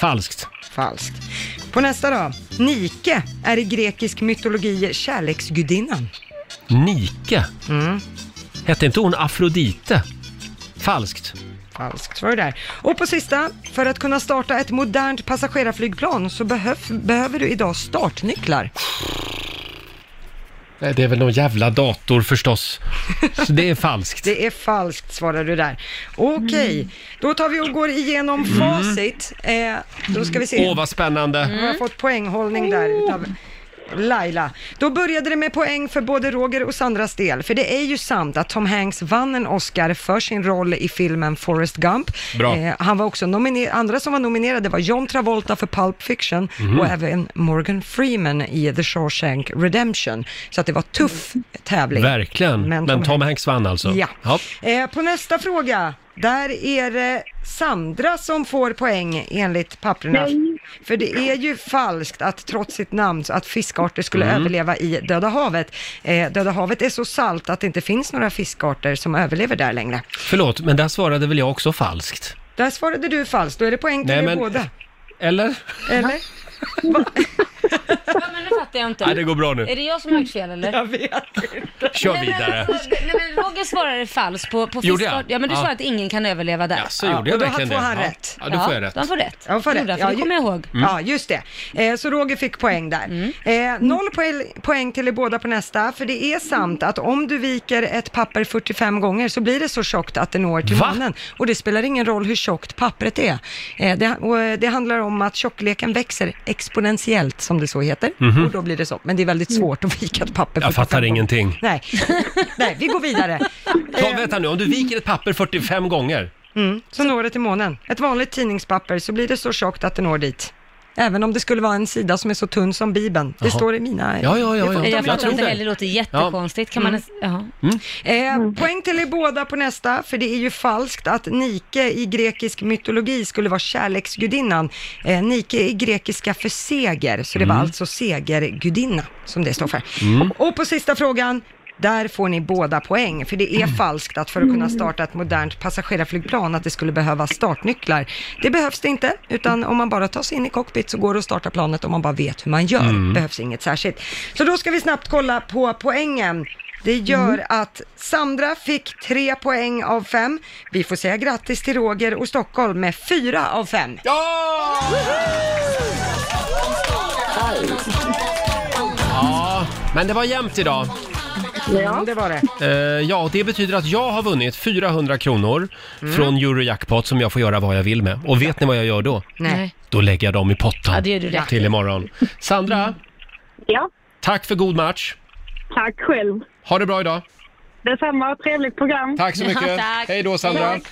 Falskt. Falskt. På nästa då. Nike är i grekisk mytologi kärleksgudinnan. Nike? Hette inte hon Afrodite? Falskt. Falskt var det där. Och på sista, för att kunna starta ett modernt passagerarflygplan så behöv, behöver du idag startnycklar. Nej, det är väl någon jävla dator förstås. Så det är falskt. Det är falskt svarar du där. Okej, då tar vi och går igenom facit. Eh, då ska vi se. Åh, vad spännande. Mm. Nu har jag fått poänghållning där Oh. utav Laila. Då började det med poäng för både Roger och Sandras del, för det är ju sant att Tom Hanks vann en Oscar för sin roll i filmen Forrest Gump. Eh, Bra. han var också nomine- andra som var nominerade var John Travolta för Pulp Fiction Mhm. och även Morgan Freeman i The Shawshank Redemption. Så att det var tuff tävling. Verkligen. Men Tom, Hanks... vann alltså? Ja. Eh, på nästa fråga, där är det Sandra som får poäng enligt papperna. Nej. För det är ju falskt att trots sitt namn så att fiskarter skulle Mm. överleva i Döda havet. Eh, Döda havet är så salt att det inte finns några fiskarter som överlever där längre. Förlåt, men där svarade väl jag också falskt? Där svarade du falskt, då är det poäng till Nej, er men- båda. Eller? Eller? Ja, men det fattar jag inte. Nej, det går bra nu. Är det jag som har gjort fel eller? Jag vet inte. Kör nej, vidare. Men, alltså, nej, men Roger svarade falskt på, på Gjorde jag? fiskart. Ja, men du Ja. svarade att ingen kan överleva där. Jaså, gjorde jag och då verkligen får det? han Ja. rätt. Ja, då får jag rätt. Han får rätt. Ja, får Gjorde rätt. han, för Ja, det ju- kommer jag ihåg. Mm. Ja, just det. Eh, så Roger fick poäng där. Eh, noll poäng, poäng till er båda på nästa, för det är sant att om du viker ett papper 45 gånger så blir det så tjockt att det når till månen. Och det spelar ingen roll hur tjockt pappret är. Eh, det, och, eh, det handlar om att tjockleken växer exponentiellt, som det så heter. Mhm. Och då blir det så. Men det är väldigt svårt att vika ett papper Jag 45 fattar ingenting. Nej. Nej, vi går vidare. Tom, vänta nu. Om du viker ett papper 45 gånger? Mm, så når det till månen. Ett vanligt tidningspapper så blir det så tjockt att det når dit. Även om det skulle vara en sida som är så tunn som Bibeln. Det Jaha. står i mina... Ja, ja, ja, det får- ja. de Jag har- tror Det heller låter jättekonstigt. Kan man Mm. ens, ja. Mm. Eh, poäng till er båda på nästa, för det är ju falskt att Nike i grekisk mytologi skulle vara kärleksgudinnan. Eh, Nike är grekiska för seger, så det var Mm. alltså segergudinna som det står för. Mm. Och på sista frågan, där får ni båda poäng, för det är Mm. falskt att för att kunna starta ett modernt passagerarflygplan att det skulle behövas startnycklar. Det behövs det inte, utan om man bara tar sig in i cockpit så går det att starta planet om man bara vet hur man gör. Mm. Behövs inget särskilt. Så då ska vi snabbt kolla på poängen. Det gör att Sandra fick tre poäng av fem. Vi får säga grattis till Roger och Stockholm med fyra av fem. Ja, men det var jämnt idag. Ja, Mm, det var det. Eh, ja, och det betyder att jag har vunnit 400 kronor Mm. från Eurojackpot som jag får göra vad jag vill med. Och vet ni vad jag gör då? Nej. Då lägger jag dem i potten Ja, det gör du rätt till i. imorgon. Sandra? Ja? Tack för god match. Tack själv. Ha det bra idag. Detsamma, trevligt program. Tack så mycket. Hej då Sandra. Tack.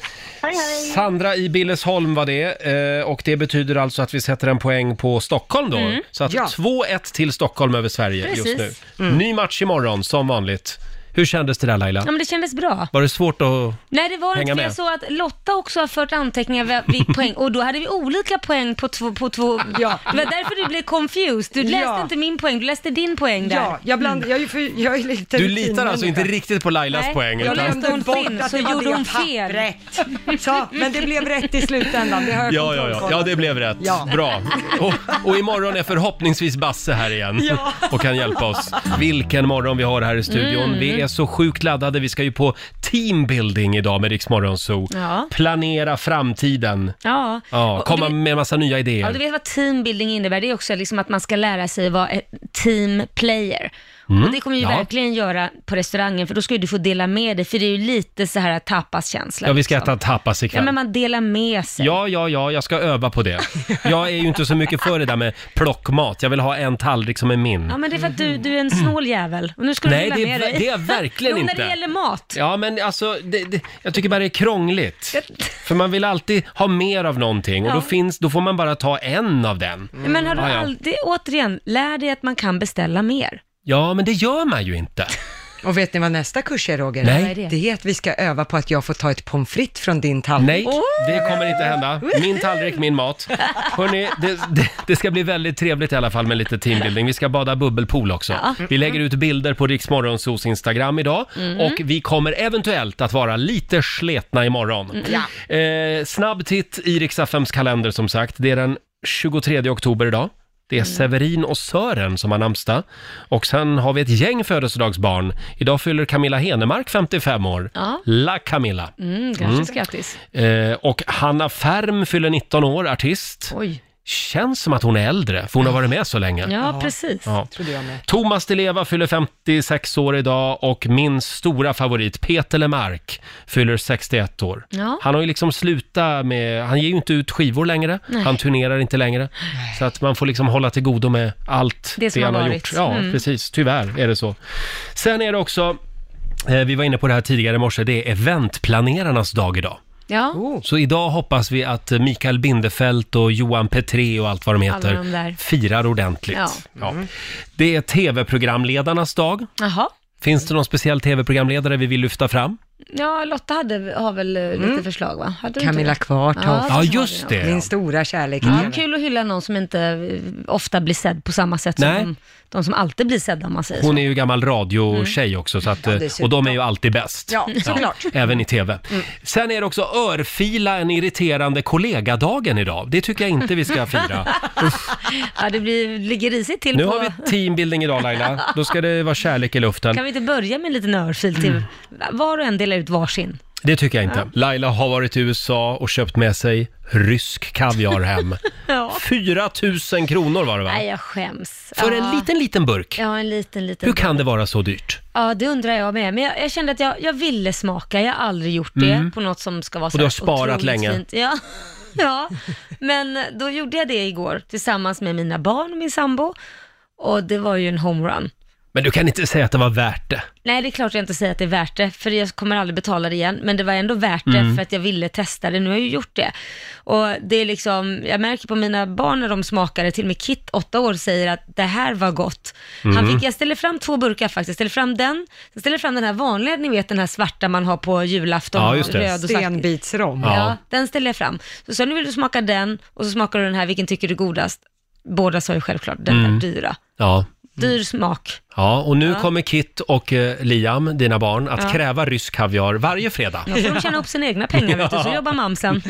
Hej hej. Sandra i Billesholm var det eh, och det betyder alltså att vi sätter en poäng på Stockholm då. Mm. Så att Ja. 2-1 till Stockholm över Sverige just Precis. Mm. nu. Ny match imorgon som vanligt. Hur kändes det där Laila? Ja, men det kändes bra. Var det svårt att Nej det var hänga inte, för med? jag såg att Lotta också har fört anteckningar vad vi poäng och då hade vi olika poäng på två, på två. Ja. det var därför du blev confused. Du läste Ja. inte min poäng, du läste din poäng där. Ja, jag, bland, jag, är för, jag är lite Mm. Du litar alltså inte rutinmänniska. riktigt på Lailas Nej, poäng? jag utan- läste hon fel så Alltså, gjorde hon fel. Så, men det blev rätt i slutändan. Det har jag Ja, ja, ja. kontrollkollat. ja, det blev rätt. Ja. Bra. Och, och imorgon är förhoppningsvis Basse här igen Ja. och kan hjälpa oss. Vilken morgon vi har här i studion. Mm. Vi är så sjukt laddade. Vi ska ju på teambuilding idag med Rix Morgon Zoo. Ja. Planera framtiden. Ja. Ja, Och komma du- med massa nya Ja, du idéer. vet vad teambuilding innebär? Det är också liksom att man ska lära sig vara ett team player. Mm, Och det kommer ju ja. verkligen göra på restaurangen, för då ska ju du få dela med dig, för det är ju lite så här tapaskänsla. Ja, vi ska liksom. äta tapas Ja, men ikväll. man delar med sig. Ja, ja, ja, jag ska öva på det. Jag är ju inte så mycket för det där med plockmat. Jag vill ha en tallrik som är min. Ja, men det är för att du, du är en snål jävel. Och nu ska Mm. Nej, du det dela är med ver- dig. det är jag verkligen jo, inte. när det gäller mat. Ja, men alltså, det, det, jag tycker bara det är krångligt. För man vill alltid ha mer av någonting och då, Ja. finns, då får man bara ta en av den. Men har du Mm. ja, ja. aldrig, återigen, lär dig att man kan beställa mer. ja, men det gör man ju inte. Och vet ni vad nästa kurs är Roger? Nej. Vad är det? Det är att vi ska öva på att jag får ta ett pommes frites från din tallrik. Nej, det kommer inte hända. Min tallrik, min mat. Hörrni, det, det, det ska bli väldigt trevligt i alla fall med lite teambuilding. Vi ska bada bubbelpool också. Ja. Vi lägger ut bilder på Riksmorgonsos Instagram idag Mm. och vi kommer eventuellt att vara lite sletna imorgon. Mm. Ja. Eh, snabb titt i Riksaffems kalender som sagt. Det är den 23 oktober idag. Det är Mm. Severin och Sören som har namnsdag. Och sen har vi ett gäng födelsedagsbarn. Idag fyller Camilla Henemark 55 år. Ja. La Camilla. Mm, grattis, Mm. grattis. Eh, och Hanna Färm fyller 19 år, artist. Känns som att hon är äldre, för hon har varit med så länge. Ja, precis. Ja. Thomas Di Leva fyller 56 år idag och min stora favorit Peter Lemark fyller 61 år. Ja. Han har ju liksom slutat med, han ger ju inte ut skivor längre, Nej. han turnerar inte längre. Så att man får liksom hålla till godo med allt Det det, som han har har varit. gjort. Ja, Mm. precis. Tyvärr är det så. Sen är det också, eh, vi var inne på det här tidigare i morse, det är eventplanerarnas dag idag. Ja. Så idag hoppas vi att Mikael Bindefeld och Johan Petré och allt vad de Alla heter de där. firar ordentligt. Ja. Ja. Det är tv-programledarnas dag. Jaha. Finns det någon speciell tv-programledare vi vill lyfta fram? Ja, Lotta hade, har väl eh, lite förslag va? Hade du inte Camilla det? Kvartoft. Ja, Ja, just det. Min stora kärlek. i Ja, Mm. livet. kul att hylla någon som inte eh, ofta blir sedd på samma sätt Nej. som de, de som alltid blir sedda om man säger Hon så. är ju gammal radiotjej också, så att, eh, dessutom. och de är ju alltid bäst. Mm. Ja, såklart. Mm. Även i tv. Sen är det också örfila en irriterande kollegadagen idag. Det tycker jag inte vi ska fira. Ja, det blir, ligger risigt till Nu på... har vi teambuilding idag Laila. Då ska det vara kärlek i luften. Kan vi inte börja med en liten örfil till Mm. var och en delar ut varsin? Det tycker jag inte. Laila har varit i USA och köpt med sig rysk kaviar hem. Ja. 4 000 kronor var det va? Nej, jag skäms. För ja. en liten, liten burk. Ja, en liten, liten. Hur kan det vara så dyrt? Ja, det undrar jag med. Men jag, jag kände att jag, jag ville smaka. Jag har aldrig gjort det Mm. på något som ska vara Och så du har här sparat otroligt länge. Fint. Ja. ja, men då gjorde jag det igår tillsammans med mina barn och min sambo. Och det var ju en homerun. Men du kan inte säga att det var värt det. Nej, det är klart jag inte säger att det är värt det, för jag kommer aldrig betala det igen. Men det var ändå värt det Mm. för att jag ville testa det. Nu har jag ju gjort det. Och det är liksom, jag märker på mina barn när de smakar det, till och med Kit, åtta år, säger att det här var gott. Han Mm. fick, jag ställer fram två burkar faktiskt. Jag ställer fram den, sen ställer jag fram den här vanliga, ni vet den här svarta man har på julafton. Ja, just det. Röd och svart. Stenbitsrom. Ja. Ja. den ställer jag fram. Så sa jag, nu vill du smaka den och så smakar du den här, vilken tycker du är godast? Båda sa ju självklart den Mm. där dyra. Ja. dyr smak. Ja, och nu Ja. kommer Kit och eh, Liam, dina barn, att Ja. kräva rysk kaviar varje fredag. Då får de tjäna upp sina egna pengar, vet du, så Ja. jobbar mamsen.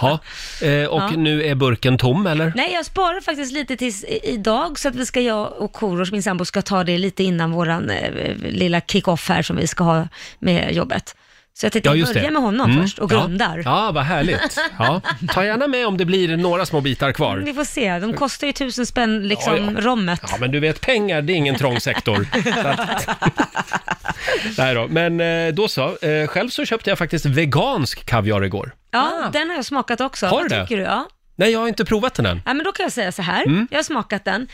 Ja. Eh, och Ja. nu är burken tom, eller? Nej, jag sparar faktiskt lite tills i- idag så att vi ska, jag och Korosh, min sambo, ska ta det lite innan våran eh, lilla kick-off här som vi ska ha med jobbet. Så jag tänkte Ja, jag just börja det. med honom Mm, först och ja. grundar. Ja, vad härligt. Ja. Ta gärna med om det blir några små bitar kvar. Vi får se, de kostar ju tusen spänn liksom Ja, ja. rommet. Ja, men du vet, pengar det är ingen trång sektor. Så att... Nej då, men eh, då så. Eh, Själv så köpte jag faktiskt vegansk kaviar igår. Ja, den har jag smakat också. Har du Vad det? tycker du? Ja. Nej, jag har inte provat den än. ja, men då kan jag säga så här, Mm. jag har smakat den.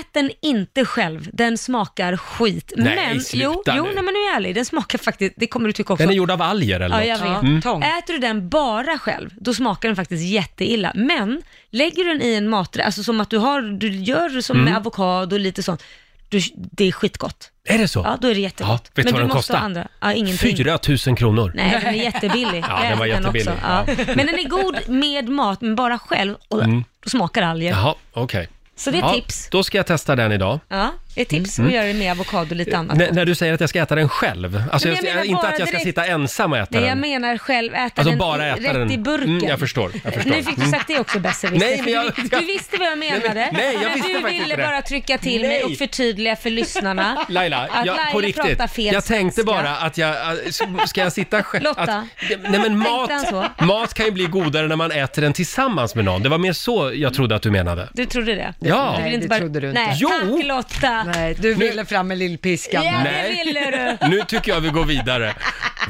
Ät den inte själv, den smakar skit. Nej, men, jo, sluta jo, nu. nej, men nu är jag ärlig, den smakar faktiskt, det kommer du tycka också. Den är gjord av alger eller Ja, jag något. vet. Mm. Äter du den bara själv, då smakar den faktiskt jätteilla. Men lägger du den i en maträtt, alltså som att du har, du gör det som Mm. med avokado och lite sånt, du, det är skitgott. Är det så? Ja, då är det jättegott. Ja, vet du men vad du den måste ha kostar? andra. Ja, ingenting. 4 000 kronor. Nej, den är jättebillig. Ja, Jag den var äter jättebillig, också. Ja. ja. Men den är god med mat, men bara själv, och Mm. då smakar alger. Jaha, okej. Så det är ja, tips. Då ska jag testa den idag. Ja, ett tips Mm. att göra det med avokado och lite annat. N- när du säger att jag ska äta den själv, alltså Men jag jag menar inte bara att jag ska direkt- sitta ensam och äta Nej, den. jag menar själv, äta Alltså den bara i- äta rätt den. i burken. Mm, jag förstår, jag förstår. Nu fick du Mm. sagt det också besserwisser. Nej, för men jag- du, jag- du visste vad jag Nej, men- menade. nej, jag visste du faktiskt ville inte det. bara trycka till Nej. mig och förtydliga för lyssnarna Laila, att jag, Laila på pratar riktigt. fel jag tänkte svenska. bara att jag, äh, ska jag sitta själv? Lotta, Att, nej men mat, han så? mat kan ju bli godare när man äter den tillsammans med någon. Det var mer så jag trodde att du menade. Du trodde det? Ja. Du Nej, ville inte det bara... trodde du inte. Nej, Jo. tack Lotta. Nej, Du ville fram med lillpiskan. Ja, det ville du. Nu tycker jag vi går vidare.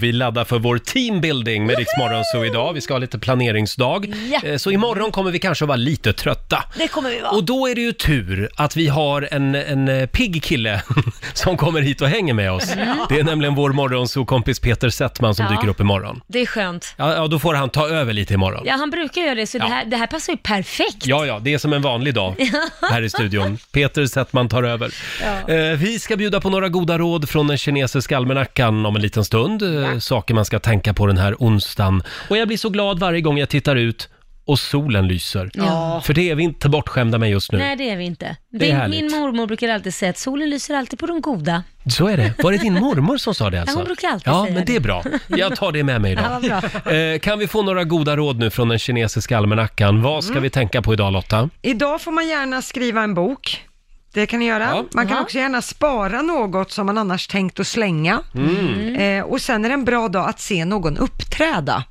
Vi laddar för vår teambuilding med Rix Morgon så idag. Vi ska ha lite planeringsdag. Ja. Eh, Så imorgon kommer vi kanske att vara lite trötta. Det kommer vi vara. Och då är det ju tur att vi har en, en eh, pigg kille som kommer hit och hänger med oss. Mm. Det är nämligen vår morgonsokompis Peter Settman som Ja. dyker upp imorgon. Det är skönt. Ja, ja, då får han ta över lite imorgon. Ja, han brukar göra det, så det, här, det här passar ju perfekt. Ja, ja, det är som en vanlig dag här i studion. Peter Settman tar över. Ja. Eh, Vi ska bjuda på några goda råd från den kinesiska almanackan om en liten stund. Eh, Saker man ska tänka på den här onsdagen. Och jag blir så glad varje gång jag tittar ut och solen lyser. Ja. För det är vi inte bortskämda med just nu. Nej, det är vi inte. Det är Min- härligt. Min mormor brukar alltid säga att solen lyser alltid på de goda. Så är det. Var det din mormor som sa det alltså? Ja, hon brukar alltid Ja, säga men det är det. bra. Jag tar det med mig Ja, idag. vad bra. Eh, Kan vi få några goda råd nu från den kinesiska almanackan? Vad ska Mm. vi tänka på idag Lotta? Idag får man gärna skriva en bok. Det kan ni göra. Man kan Jaha. också gärna spara något som man annars tänkt att slänga. Mm. Eh, och sen är det en bra dag att se någon uppträda.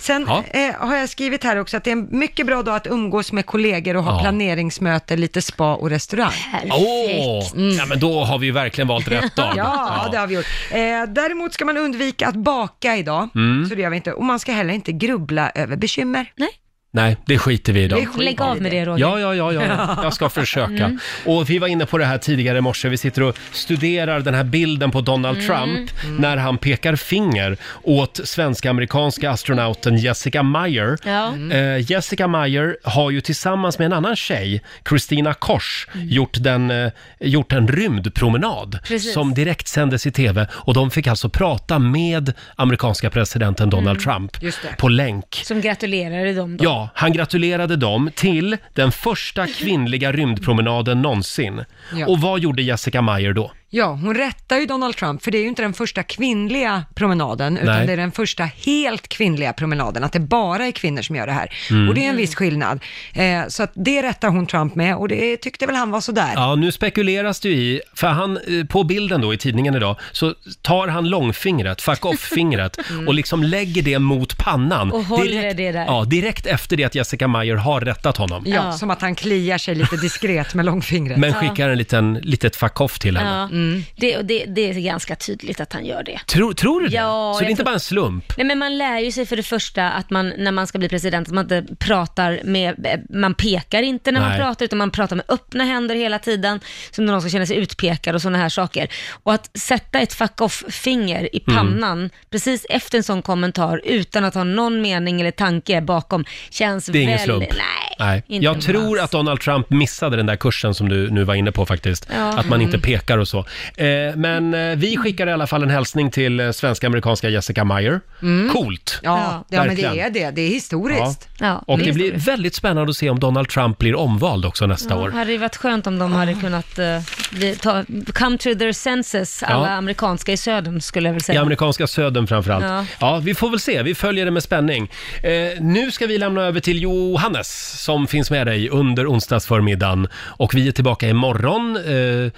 Sen Ja. eh, har jag skrivit här också att det är en mycket bra dag att umgås med kollegor och ha Ja. planeringsmöte, lite spa och restaurang. Åh, ja, men då har vi ju verkligen valt rätt dag. Mm. Ja, det har vi gjort. Eh, däremot ska man undvika att baka idag, Mm. så det gör vi inte. Och man ska heller inte grubbla över bekymmer. Nej. Nej, det skiter vi i idag. Det skiter Lägg av vi i. med det, Roger. Ja, ja, ja, ja. jag ska försöka. Mm. Och vi var inne på det här tidigare i morse. Vi sitter och studerar den här bilden på Donald Mm. Trump när han pekar finger åt svensk-amerikanska astronauten Jessica Meyer. Ja. Eh, Jessica Meyer har ju tillsammans med en annan tjej, Christina Kors, Mm. gjort, den, eh, gjort en rymdpromenad Precis. som direkt sändes i tv och de fick alltså prata med amerikanska presidenten Donald Trump Mm. Just det. på länk. Som gratulerade dem då. Ja, han gratulerade dem till den första kvinnliga rymdpromenaden någonsin. Ja. Och vad gjorde Jessica Meyer då? Ja, hon rättar ju Donald Trump, för det är ju inte den första kvinnliga promenaden, utan Nej. det är den första helt kvinnliga promenaden, att det bara är kvinnor som gör det här. Mm. Och det är en viss skillnad. Eh, så att det rättar hon Trump med, och det tyckte väl han var sådär. Ja, nu spekuleras det ju i, för han, eh, på bilden då i tidningen idag, så tar han långfingret, fuck off-fingret, och liksom lägger det mot pannan. Mm. Och håller det där. Ja, direkt efter det att Jessica Meyer har rättat honom. Ja, som att han kliar sig lite diskret med långfingret. Men skickar en liten, litet fuck off till henne. Ja. Det, och det, det är ganska tydligt att han gör det. Tror, tror du det? Ja, så det jag är inte tror- bara en slump? Nej, men man lär ju sig för det första att man, när man ska bli president, att man inte pratar med, eh, man pekar inte när Nej. man pratar, utan man pratar med öppna händer hela tiden, som när någon ska känna sig utpekad och sådana här saker. Och att sätta ett fuck off-finger i Mm. pannan precis efter en sån kommentar, utan att ha någon mening eller tanke bakom, känns Det är ingen väl- slump. Nej, Nej. Inte Jag en tror att Donald Trump missade den där kursen som du nu var inne på faktiskt. Ja. Att man inte Mm. pekar och så. Eh, men eh, vi skickar i alla fall en hälsning till eh, svenska-amerikanska Jessica Meyer. Mm. Coolt! Ja, ja men det Verkligen. är det. Det är historiskt. Ja. Och det blir väldigt spännande att se om Donald Trump blir omvald också nästa Ja, år. hade ju varit skönt om de hade kunnat eh, bli, ta, come to their senses, alla Ja. amerikanska i södern skulle jag väl I säga. amerikanska södern framförallt. Ja. Ja. ja, vi får väl se. Vi följer det med spänning. Eh, nu ska vi lämna över till Johannes som finns med dig under onsdagsförmiddagen. Och vi är tillbaka imorgon. Eh,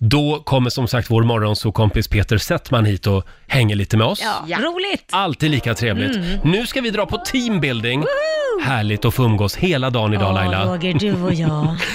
då kommer som sagt vår morgonsokompis Peter Settman hit och hänger lite med oss. Ja, roligt! Alltid lika trevligt. Mm. Nu ska vi dra på teambuilding. Härligt att få umgås hela dagen idag Ja, Laila. Roger, du och jag.